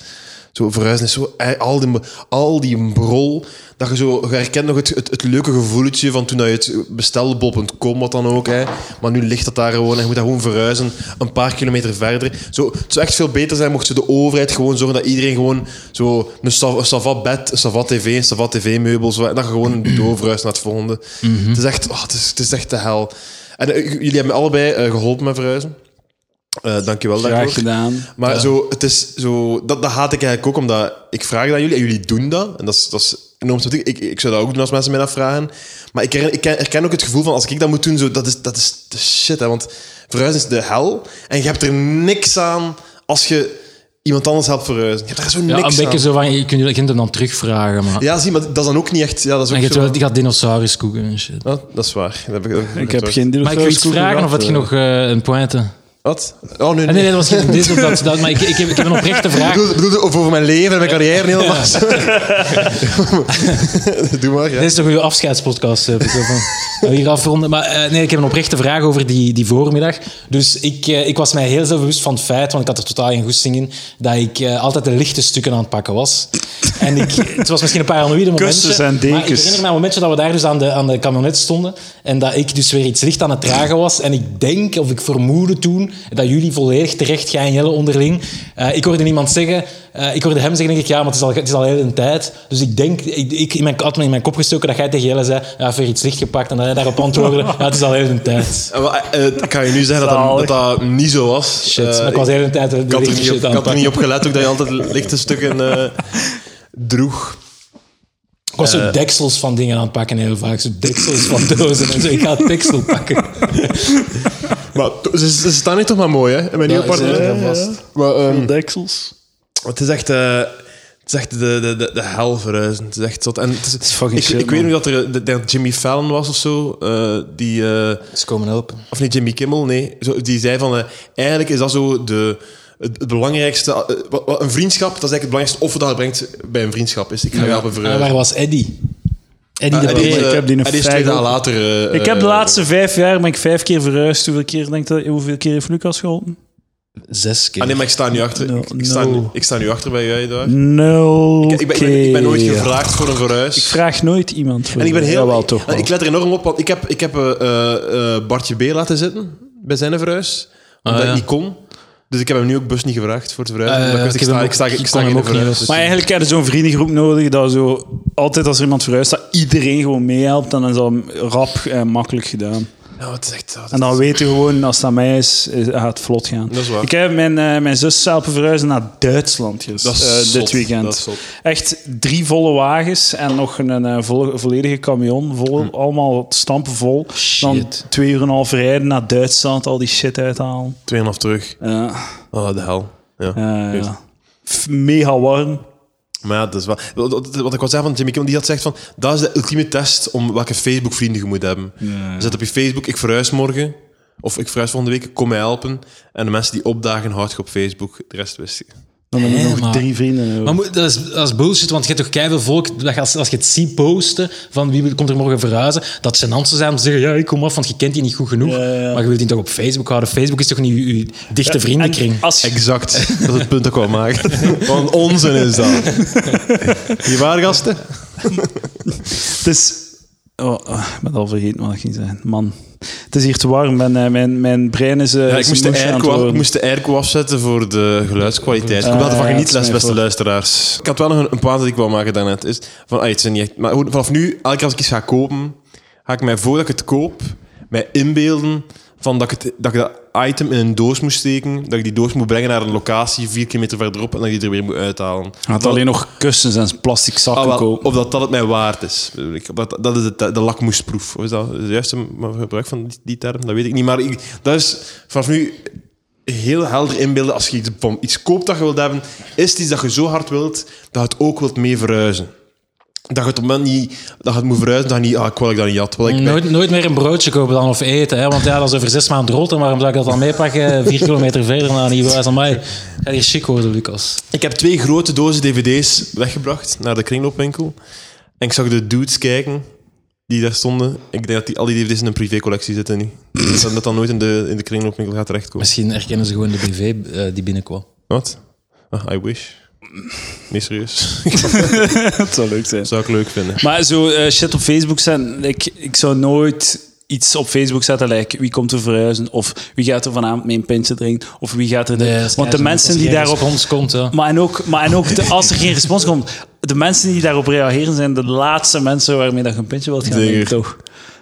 S2: Zo, verhuizen is zo... eh, Al die, al die brol... Dat je zo... Je herkent nog het, het, het leuke gevoeletje van toen dat je het bestelde, bol.com, wat dan ook. Hè. Maar nu ligt dat daar gewoon en je moet daar gewoon verhuizen. Een paar kilometer verder. Zo, het zou echt veel beter zijn mocht ze de overheid gewoon zorgen dat iedereen gewoon zo een sa- een savat bed, een savat tv, een savat tv-meubels... En dat je gewoon doorverhuist naar het volgende. het, is echt, ah, het, is, het is echt de hel. En eh, j- jullie hebben me allebei eh, geholpen met verhuizen. Eh dankjewel daarvoor.
S1: Graag gedaan.
S2: Maar zo, het is zo, dat, dat haat ik eigenlijk ook, omdat ik vraag dat aan jullie en jullie doen dat. En dat is, dat is enorm sympathiek. Ik, ik zou dat ook doen als mensen mij dat vragen. Maar ik herken, ik ken- herken ook het gevoel van als ik dat moet doen, zo, dat, is, dat is de shit. Hè, want verhuizen is de hel en je hebt er niks aan als je iemand anders helpt verhuizen. Je hebt er zo
S3: Ja, een
S2: niks aan.
S3: beetje zo van, je kunt je kunt hem dan terugvragen, maar...
S2: Ja, zie, maar dat is dan ook niet echt... Ja, dat is
S3: En
S2: ook
S3: je hebt
S2: zo-
S3: wel- die gaat dinosaurus koeken en shit.
S2: Ah, dat is waar. Dat heb ik, dat heb
S1: Ik heb
S2: ook.
S1: geen
S3: Mag ik u iets
S1: dinosaurus
S3: vragen of
S1: gehad,
S3: had je
S1: eh.
S3: nog eh, een pointe?
S2: Wat? Oh, nee,
S3: Ah,
S2: nee.
S3: nee, nee, dat was geen dit of dat, dat maar ik, ik, heb, ik heb een oprechte
S2: Ik
S3: vraag.
S2: bedoel- ik bedoel over over mijn leven en mijn carrière en helemaal. Doe maar, ja.
S3: Dit is toch uw afscheidspodcast, heb ik zo van. Nou, hier afronden. Maar eh, nee, ik heb een oprechte vraag over die, die voormiddag. Dus ik, eh, ik was mij heel zelf bewust van het feit, want ik had er totaal geen goesting in, dat ik eh, altijd de lichte stukken aan het pakken was. En ik, het was misschien een paranoïde moment.
S1: Kussens en
S3: Maar ik
S1: dekens.
S3: herinner me een momentje dat we daar dus aan de, aan de camionet stonden en dat ik dus weer iets licht aan het dragen was. En ik denk, of ik vermoedde toen, dat jullie volledig terecht, jij en Jelle onderling. eh, ik hoorde iemand zeggen, eh, ik hoorde hem zeggen, denk ik, ja, maar het is al, het is al heel een tijd. Dus ik denk, ik, ik in mijn, had me in mijn kop gestoken dat jij tegen Jelle zei, ja, heb weer iets licht gepakt. En dat hij daarop antwoordde, ja, het is al heel een tijd.
S2: Eh, maar, eh, Ik kan je nu zeggen dat dat, dat, dat niet zo was.
S3: Shit,
S2: Eh,
S3: maar ik was heel een tijd de
S2: ik had er,
S3: lichte
S2: niet op,
S3: shit
S2: ik
S3: aan het
S2: had er niet
S3: pakken.
S2: op gelet ook dat je altijd lichte stukken eh, droeg.
S3: Ik was
S2: eh,
S3: zo deksels van dingen aan het pakken heel vaak. Zo deksels van dozen en zo. Ik ga het deksel pakken.
S2: Maar to- ze, ze staan hier toch maar mooi, hè? In mijn nieuwe
S3: is
S2: appartement.
S3: heel vast. Hm.
S2: Maar, ehm,
S1: deksels?
S2: het is echt... eh, het is echt de, de, de, de hel verhuizen. Het is echt zot. En het is,
S1: fucking
S2: ik,
S1: shit,
S2: ik weet
S1: man.
S2: nog dat er de, dat Jimmy Fallon was of zo. eh, die... eh,
S3: Ze komen helpen.
S2: Of nee, Jimmy Kimmel, nee. Zo, die zei van, eh, eigenlijk is dat zo de, het, het belangrijkste... eh, wat- wat- een vriendschap, dat is eigenlijk het belangrijkste offer dat het brengt bij een vriendschap. Is, ik ga je
S1: Ah,
S2: helpen
S3: En
S2: verhuizen.
S3: Ah, waar was Eddie? Eddie de
S2: En die is,
S3: Bree.
S2: eh,
S1: heb die nog
S2: en is
S1: vijf
S2: twee dagen
S1: ook.
S2: later... eh,
S1: Ik heb de
S2: eh,
S1: laatste vijf jaar ben ik vijf keer verhuisd. Hoeveel keer, denk je, hoeveel keer heeft Lucas geholpen?
S3: Zes keer.
S2: Ah nee, maar ik sta nu achter.
S1: No,
S2: ik, ik sta,
S1: no.
S2: nu- ik sta nu achter bij jij daar.
S1: Nul
S2: Ik, ik, ben, ik, ben, ik ben nooit gevraagd voor een verhuis.
S1: Ik vraag nooit iemand voor.
S2: en ik ben heel...
S1: Jawel, toch wel.
S2: Ik let er enorm op, want ik heb, ik heb eh, eh, eh, Bartje B laten zitten bij zijn verhuis. Omdat
S3: Ah, ja.
S2: ik niet kon. Dus ik heb hem nu ook bus niet gevraagd voor het verhuis.
S3: Ah, ja,
S2: omdat eh, ik wist,
S3: ik heb hem
S2: ik sta,
S3: ook-
S2: ik sta, ik sta
S3: ik
S2: eh,
S3: kon
S2: geen
S3: hem ook niet
S2: verhuis.
S3: helpen.
S1: maar eigenlijk heb je zo'n vriendengroep nodig dat zo altijd als er iemand verhuist, dat iedereen gewoon meehelpt en dan is dat rap en makkelijk gedaan.
S2: Nou, het is echt... dat
S1: En dan weet je gewoon, als het aan mij is, is- gaat het vlot gaan.
S2: Dat is waar.
S1: Ik heb mijn, eh, mijn zus zelf verhuizen naar Duitsland dus,
S2: Dat is
S1: eh,
S2: zot.
S1: dit weekend.
S2: Dat is zot.
S1: Echt drie volle wagens en nog een, eh, vo- volledige camion. Vol,
S2: Hm.
S1: Allemaal stampen vol. Dan twee uur en een half rijden naar Duitsland, al die shit uithalen.
S2: Tweeënhalf terug.
S1: Eh,
S2: Oh, de hel. Ja.
S1: eh,
S2: Juist.
S1: ja. F- Mega warm.
S2: Maar ja, dat is wel... wat- Wat wat ik wil zeggen van Jimmy Kimmel, die had gezegd van... Dat is de ultieme test om welke Facebook-vrienden je moet hebben. Zet op je Facebook, ik verhuis morgen. Of ik verhuis volgende week, kom mij helpen. En de mensen die opdagen, houd je op Facebook. De rest wist je.
S1: Dan heb ik
S3: Hè,
S1: nog
S3: Eh, maar-
S1: drie vrienden. eh. over.
S3: Maar moet- dat, is, dat is bullshit, want je hebt toch keihard volk. dat je Als, als je het ziet posten van wie wil- komt er morgen verhuizen, dat ze zijn zijn om te zeggen: Ja, ik kom af, want je kent die niet goed genoeg.
S1: Ja, ja.
S3: Maar je wilt die toch op Facebook houden? Facebook is toch niet je, je dichte vriendenkring?
S1: En als,
S2: Exact. dat is het punt dat ik wil maken. Wat een onzin is dat. Hier waar, gasten?
S1: Het is... Oh, oh, ik ben al vergeten wat ik ging zeggen. Man, het is hier te warm en eh, mijn, mijn brein is... eh,
S2: Ja, ik,
S1: is
S2: moest de
S1: moesje aan het
S2: airco, ik
S1: worden.
S2: moest de airco afzetten voor de geluidskwaliteit. Ik
S1: Ah,
S2: wil ervan
S1: ja,
S2: genieten,
S1: dat is
S2: les,
S1: mijn
S2: beste
S1: fout.
S2: luisteraars. Ik had wel nog een, een plaat dat ik wou maken daarnet. Is van, ah, het zijn niet echt, maar gewoon vanaf nu, elke keer als ik iets ga kopen, ga ik mij voordat ik het koop, mij inbeelden van dat, ik het, dat ik dat item in een doos moet steken, dat ik die doos moet brengen naar een locatie vier kilometer verderop en dat ik die er weer moet uithalen.
S1: Hij had
S2: Dat-
S1: alleen nog kussens en plastic zakken
S2: Ah, wel,
S1: kopen.
S2: of dat dat het mij waard is. Ik- Dat, dat is het, eh, de lakmoesproef. Of is dat het juiste m- gebruik van die, die term? Dat weet ik niet. Maar ik, dat is vanaf nu heel helder inbeelden. Als je iets, van iets koopt dat je wilt hebben, is het iets dat je zo hard wilt dat je het ook wilt mee verhuizen. Dat je het op het moment niet, dat je het moet verhuizen, dat je niet, ah, ik wil ik dat niet had. Wil ik
S3: Mm, Nooit, nooit meer een broodje kopen dan of eten, hè? want ja, dat is over zes maanden rot. En waarom zou ik dat dan meepakken? eh, Vier kilometer verder naar een nieuwe huis. Amai, Ga hier chic worden, Lucas.
S2: Ik heb twee grote dozen dvd's weggebracht naar de kringloopwinkel. En ik zag de dudes kijken die daar stonden. Ik denk dat die, al die dvd's in een privécollectie zitten nu. Dus dat dat dan nooit in de, in de kringloopwinkel gaat terechtkomen.
S3: Misschien herkennen ze gewoon de BV eh, die binnenkwam.
S2: Wat? Ah, I wish. Nee, serieus.
S1: Dat zou leuk zijn.
S2: zou ik leuk vinden.
S1: Maar zo eh, shit op Facebook zetten, ik, ik zou nooit iets op Facebook zetten, like wie komt er verhuizen, of wie gaat er vanavond mee een pintje drinken, of wie gaat er...
S3: Ja, dat is
S1: Want de
S3: keizer.
S1: mensen
S3: Als
S1: die
S3: geen
S1: daarop...
S3: respons komt, ja.
S1: Maar en ook, maar en ook de- als er geen respons komt, de mensen die daarop reageren zijn de laatste mensen waarmee dat je een pintje wilt gaan
S2: Zeker.
S1: drinken, toch?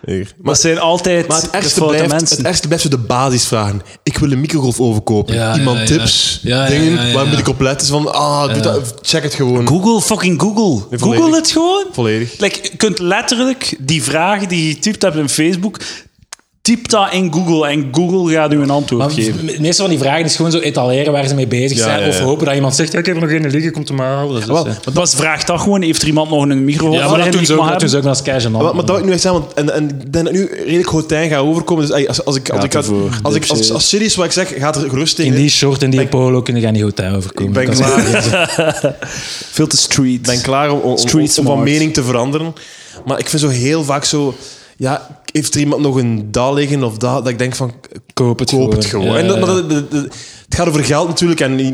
S2: Zeker. Maar,
S1: Dat zijn altijd
S2: maar het,
S1: de
S2: ergste
S1: foute
S2: blijft,
S1: mensen.
S2: het ergste blijft zo de basisvragen. Ik wil een microgolf overkopen.
S3: Ja,
S2: Iemand
S3: ja, ja.
S2: tips,
S3: Ja, ja,
S2: dingen,
S3: ja, ja,
S2: waar
S3: ja.
S2: moet ik op letten? Is van, ah, doe dat, check het gewoon.
S1: Google, fucking Google.
S2: Nee, volledig.
S1: Google het gewoon.
S2: Volledig.
S1: Like, je kunt letterlijk die vragen die je getypt hebt in Facebook, typ dat in Google en Google gaat u een antwoord
S3: Maar
S1: geven.
S3: de meeste van die vragen is gewoon zo etaleren waar ze mee bezig
S2: Ja,
S3: zijn.
S2: ja,
S3: Of
S2: ja.
S3: hopen dat iemand zegt, ja, ik heb er nog één liggen, komt er maar halen. Dat is,
S2: Wel,
S3: eh.
S1: Dat was vraag dat gewoon, heeft er iemand nog een microfoon?
S3: Ja, maar dat doen
S1: doen
S3: ze ook, dat doen ze ook als cash en
S2: Maar, maar dat wil ik nu echt zeggen, want en, en ik denk dat nu redelijk hotijn gaat overkomen. Dus ey, als, als ik, als ik, als,
S1: ervoor,
S2: als, ik als,
S1: dipshit.
S2: als serieus wat ik zeg, gaat er gerust tegen.
S3: In die short en die polo kunnen gaan niet goed overkomen.
S2: ik ben
S3: Dat is-
S2: klaar,
S1: Veel te street.
S2: ben klaar om, om, om,
S1: Street
S2: om van
S1: smart.
S2: mening te veranderen. Maar ik vind zo heel vaak zo... Ja, heeft er iemand nog een da liggen of dat? Dat ik denk van,
S3: Koop het
S2: koop
S3: gewoon.
S2: het gewoon.
S3: Ja,
S2: En dat,
S3: ja.
S2: maar dat- dat- dat- het gaat over geld natuurlijk. En niet,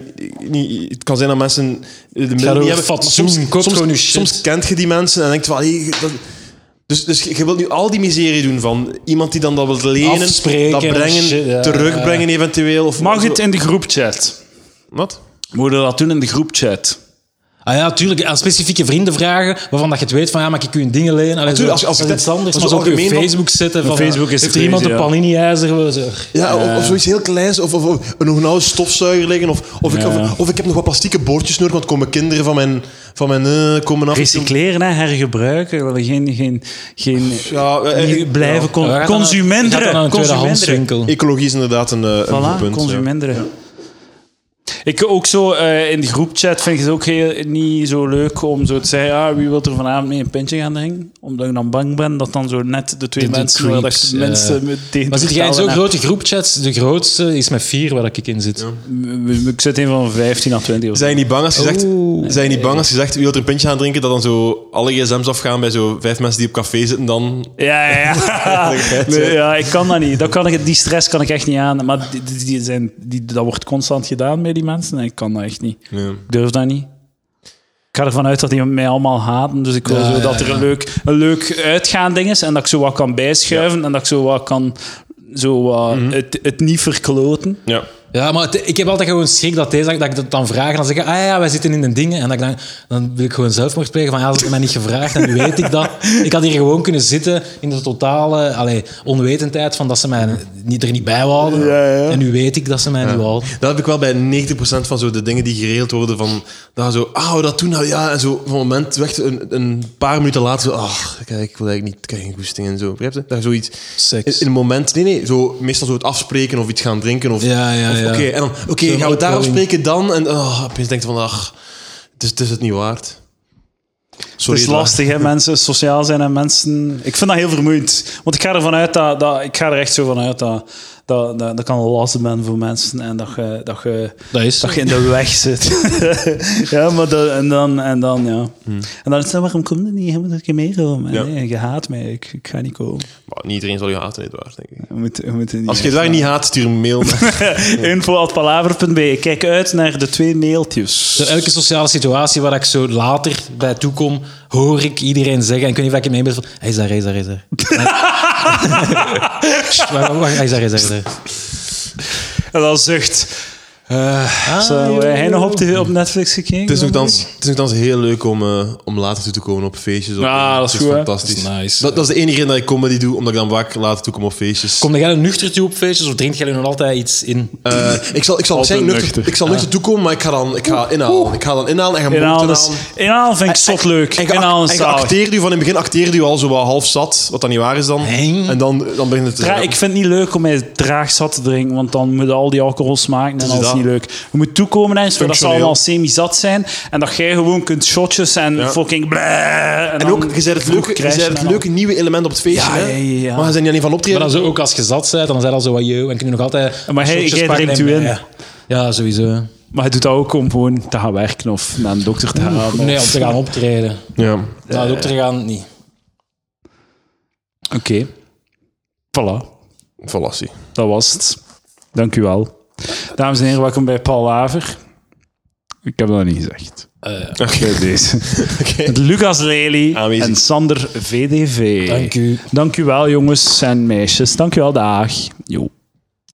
S2: niet, het kan zijn dat mensen de middelen
S3: over
S2: niet hebben. maar
S3: fatsoen.
S2: Soms,
S3: Koop
S2: soms,
S3: gewoon je shit.
S2: soms kent je die mensen en denkt van... Hey, dat, dus, dus je je wilt nu al die miserie doen van iemand die dan dat wil lenen,
S3: Afspreken
S2: dat
S3: en
S2: brengen,
S3: shit, ja.
S2: terugbrengen eventueel. Of
S1: Mag het in de groepchat?
S2: Wat?
S1: Moet je dat doen in de groepchat?
S3: Ah ja, tuurlijk. Aan specifieke vrienden vragen, waarvan dat je het weet van, ja, maar ik kun je dingen lenen. Allee,
S2: Tuurlijk, als- als
S3: dat
S2: ik
S3: is iets
S2: dat-
S3: anders.
S2: als
S3: Maar
S2: we
S3: zo op je
S2: algemeen-
S3: Facebook zetten.
S1: Op
S3: Van,
S1: Facebook is
S3: heeft er
S1: het
S3: iemand een
S1: crazy, ja.
S3: panini-ijzer? Zo.
S2: Ja, of,
S1: Eh.
S2: of zoiets heel kleins, of, of, of een nog een oude stofzuiger liggen, of, of, ik, of, of ik heb nog wat plastieke boordjes nodig, want komen kinderen van mijn, van mijn eh, komen af.
S1: Recycleren, hè, hergebruiken. Dat we Geen, geen, geen
S2: Ja, eh, eh,
S1: niet blijven con-
S3: Ja, gaat dan-
S1: consumenten.
S3: gaat dan naar een
S1: consumenten.
S3: tweedehandswinkel.
S2: Ecologie is inderdaad een, eh, een goed
S1: Voilà,
S2: punt. ja.
S1: consumenten. Ik ook zo eh, in de groepchat vind ik het ook heel, niet zo leuk om zo te zeggen: ah, wie wil er vanavond mee een pintje gaan drinken? Omdat ik dan bang ben dat dan zo net de twee
S3: De- de
S1: mensen waar dat ik
S3: creeps,
S1: de
S3: ja.
S1: mensen met tegen
S3: Maar
S1: te
S3: zit jij
S1: vertellen
S3: in zo'n
S1: heb.
S3: grote groepchats? De grootste is met vier waar ik in zit.
S1: Ik zit in van 15 à 20 of zo.
S2: Zijn je niet bang als je zegt, zijn je niet bang als je zegt, wie wil er een pintje aan drinken, dat dan zo alle gsm's afgaan bij zo vijf mensen die op café zitten dan...
S1: Ja, ja, ja. Nee, ja, ik kan dat niet. Dat kan ik, die stress kan ik echt niet aan. Maar die, die- die zijn, die, dat wordt constant gedaan bij die mensen. En ik kan dat echt niet.
S3: Ehm,
S1: Ik durf dat niet. Ik ga ervan uit dat die mij allemaal haten. Dus ik wil
S3: Ja,
S1: zo
S3: ja,
S1: dat er
S3: ja.
S1: een leuk, een leuk uitgaan ding is. En dat ik zo wat
S3: Mhm.
S1: kan bijschuiven. En dat ik zo wat kan... Zo wat het, het niet verkloten.
S2: Ja.
S3: Ja, maar het- ik heb altijd gewoon schrik dat, deze, dat ik dat dan vraag en dan zeggen, ah ja, wij zitten in de dingen. En dat ik dan, dan wil ik gewoon zelfmoord plegen van, ja, ze hebben mij niet gevraagd en nu weet ik dat. Ik had hier gewoon kunnen zitten in de totale allee, onwetendheid van dat ze mij niet, er niet bij wouden. En nu weet ik dat ze mij niet wouden.
S2: Dat heb ik wel bij 90% van zo de dingen die geregeld worden. Van, dat zo, ah, hoe dat toen nou ja. En zo van moment weg, een, een paar minuten later, zo, ah, kijk, ik wil eigenlijk niet, ik krijg geen goesting en zo. Begrijp je? Dat je zoiets.
S3: Seks.
S2: In, in een moment, nee, nee, zo, meestal zo het afspreken of iets gaan drinken. Of,
S3: Ja, ja,
S2: of
S3: ja.
S2: oké, en dan, oké,
S3: Zo'n
S2: gaan we daar
S3: opwelling.
S2: afspreken dan? En ah, opeens denk je van, ach, het is, het is het niet waard.
S1: Het
S2: Sorry,
S1: is
S2: Edouard.
S1: lastig, hè, mensen. Sociaal zijn en mensen... Ik vind dat heel vermoeiend. Want ik ga ervan uit dat... dat ik ga er echt zo van uit dat... Dat, dat, dat kan een last zijn voor mensen en dat je, dat, je,
S3: Dat is
S1: dat je in de weg zit. ja, maar dat, en dan, en dan ja. En dan is het, waarom kom je niet? Je moet een keer meekomen.
S2: Hmm. Ja.
S1: Nee, je haat mij, ik, ik ga niet komen.
S2: Maar niet iedereen zal je haten, Edouard, denk ik.
S1: We moeten, we moeten niet
S2: Als je daar niet haat, stuur een mail. naar-
S1: Info.palaver.be. Kijk uit naar de twee mailtjes.
S3: Zo elke sociale situatie waar ik zo later bij toekom, hoor ik iedereen zeggen, en ik weet niet of ik het mee ben, van, hij is daar, hij is daar, hij is daar. Wacht, wacht, wacht, Hij is daar, hij is daar, hij is daar.
S1: En dan zucht.
S2: Ah,
S1: eh zo, hij nog op, de, op Netflix gekeken?
S2: Het is nogthans, het is nogthans heel leuk om, eh, om later toe te komen op feestjes. Op,
S1: Ah, dat is
S2: het
S1: goed, hè?
S2: fantastisch.
S3: Dat is nice.
S2: dat, dat is de enige reden dat ik comedy doe, omdat ik dan vaak later toe kom op feestjes.
S3: Kom jij een nuchter toe op feestjes of drinkt jij nog altijd iets in?
S2: Eh, ik zal, ik zal,
S1: Altijd
S2: zeggen, nuchter,
S1: nuchter.
S2: ik zal nuchter toekomen, maar ik ga dan ik ga inhalen. Ik ga dan inhalen en gaan
S1: Inhalen,
S2: moeten
S1: is-
S2: halen.
S1: inhalen vind ik zot leuk.
S2: En, ge-
S1: Inhalen is
S2: en
S1: zalig.
S2: geacteerd u van in het begin acteerde u al zo wel half zat, wat dan niet waar is dan.
S3: Heng.
S2: En dan, dan begint het te
S1: Dra- ik vind het niet leuk om mij draag zat te drinken, want dan moeten al die alcohol smaken en
S2: is
S1: dat is
S2: dat.
S1: niet leuk. Je moet toekomen eens, dat ze
S2: Functioneel.
S1: allemaal semi-zat zijn en dat jij gewoon kunt shotjes en
S2: Ja.
S1: fucking bleh.
S2: En ook, je zei het leuke, je zei het leuke nieuwe element op het feestje.
S1: Ja,
S2: hè?
S1: ja, ja, ja.
S2: Maar ze zijn niet alleen van optreden.
S3: Maar dan zo, ook als je zat bent, dan zijn al zo wat je en kun je nog altijd.
S1: Maar hij-
S3: shotjes
S1: jij
S3: pakken
S1: drinkt
S3: en-
S1: u in.
S3: Ja, ja, sowieso.
S1: Maar je doet dat ook om gewoon te gaan werken of naar een dokter te gaan. of-
S3: Nee, om te gaan optreden.
S2: ja.
S3: Nou, het optreden gaan niet.
S1: Oké. Voilà,
S2: Fallacie.
S1: dat was het. Dank u wel. Dames en heren, welkom bij Paul Laver. Ik heb dat niet gezegd. Bij deze.
S2: Oké.
S1: Met Lucas Lely
S2: Aanwezig.
S1: en Sander VDV.
S3: Dank u.
S1: Dank u wel, jongens en meisjes. Dank u wel, dag. Jo.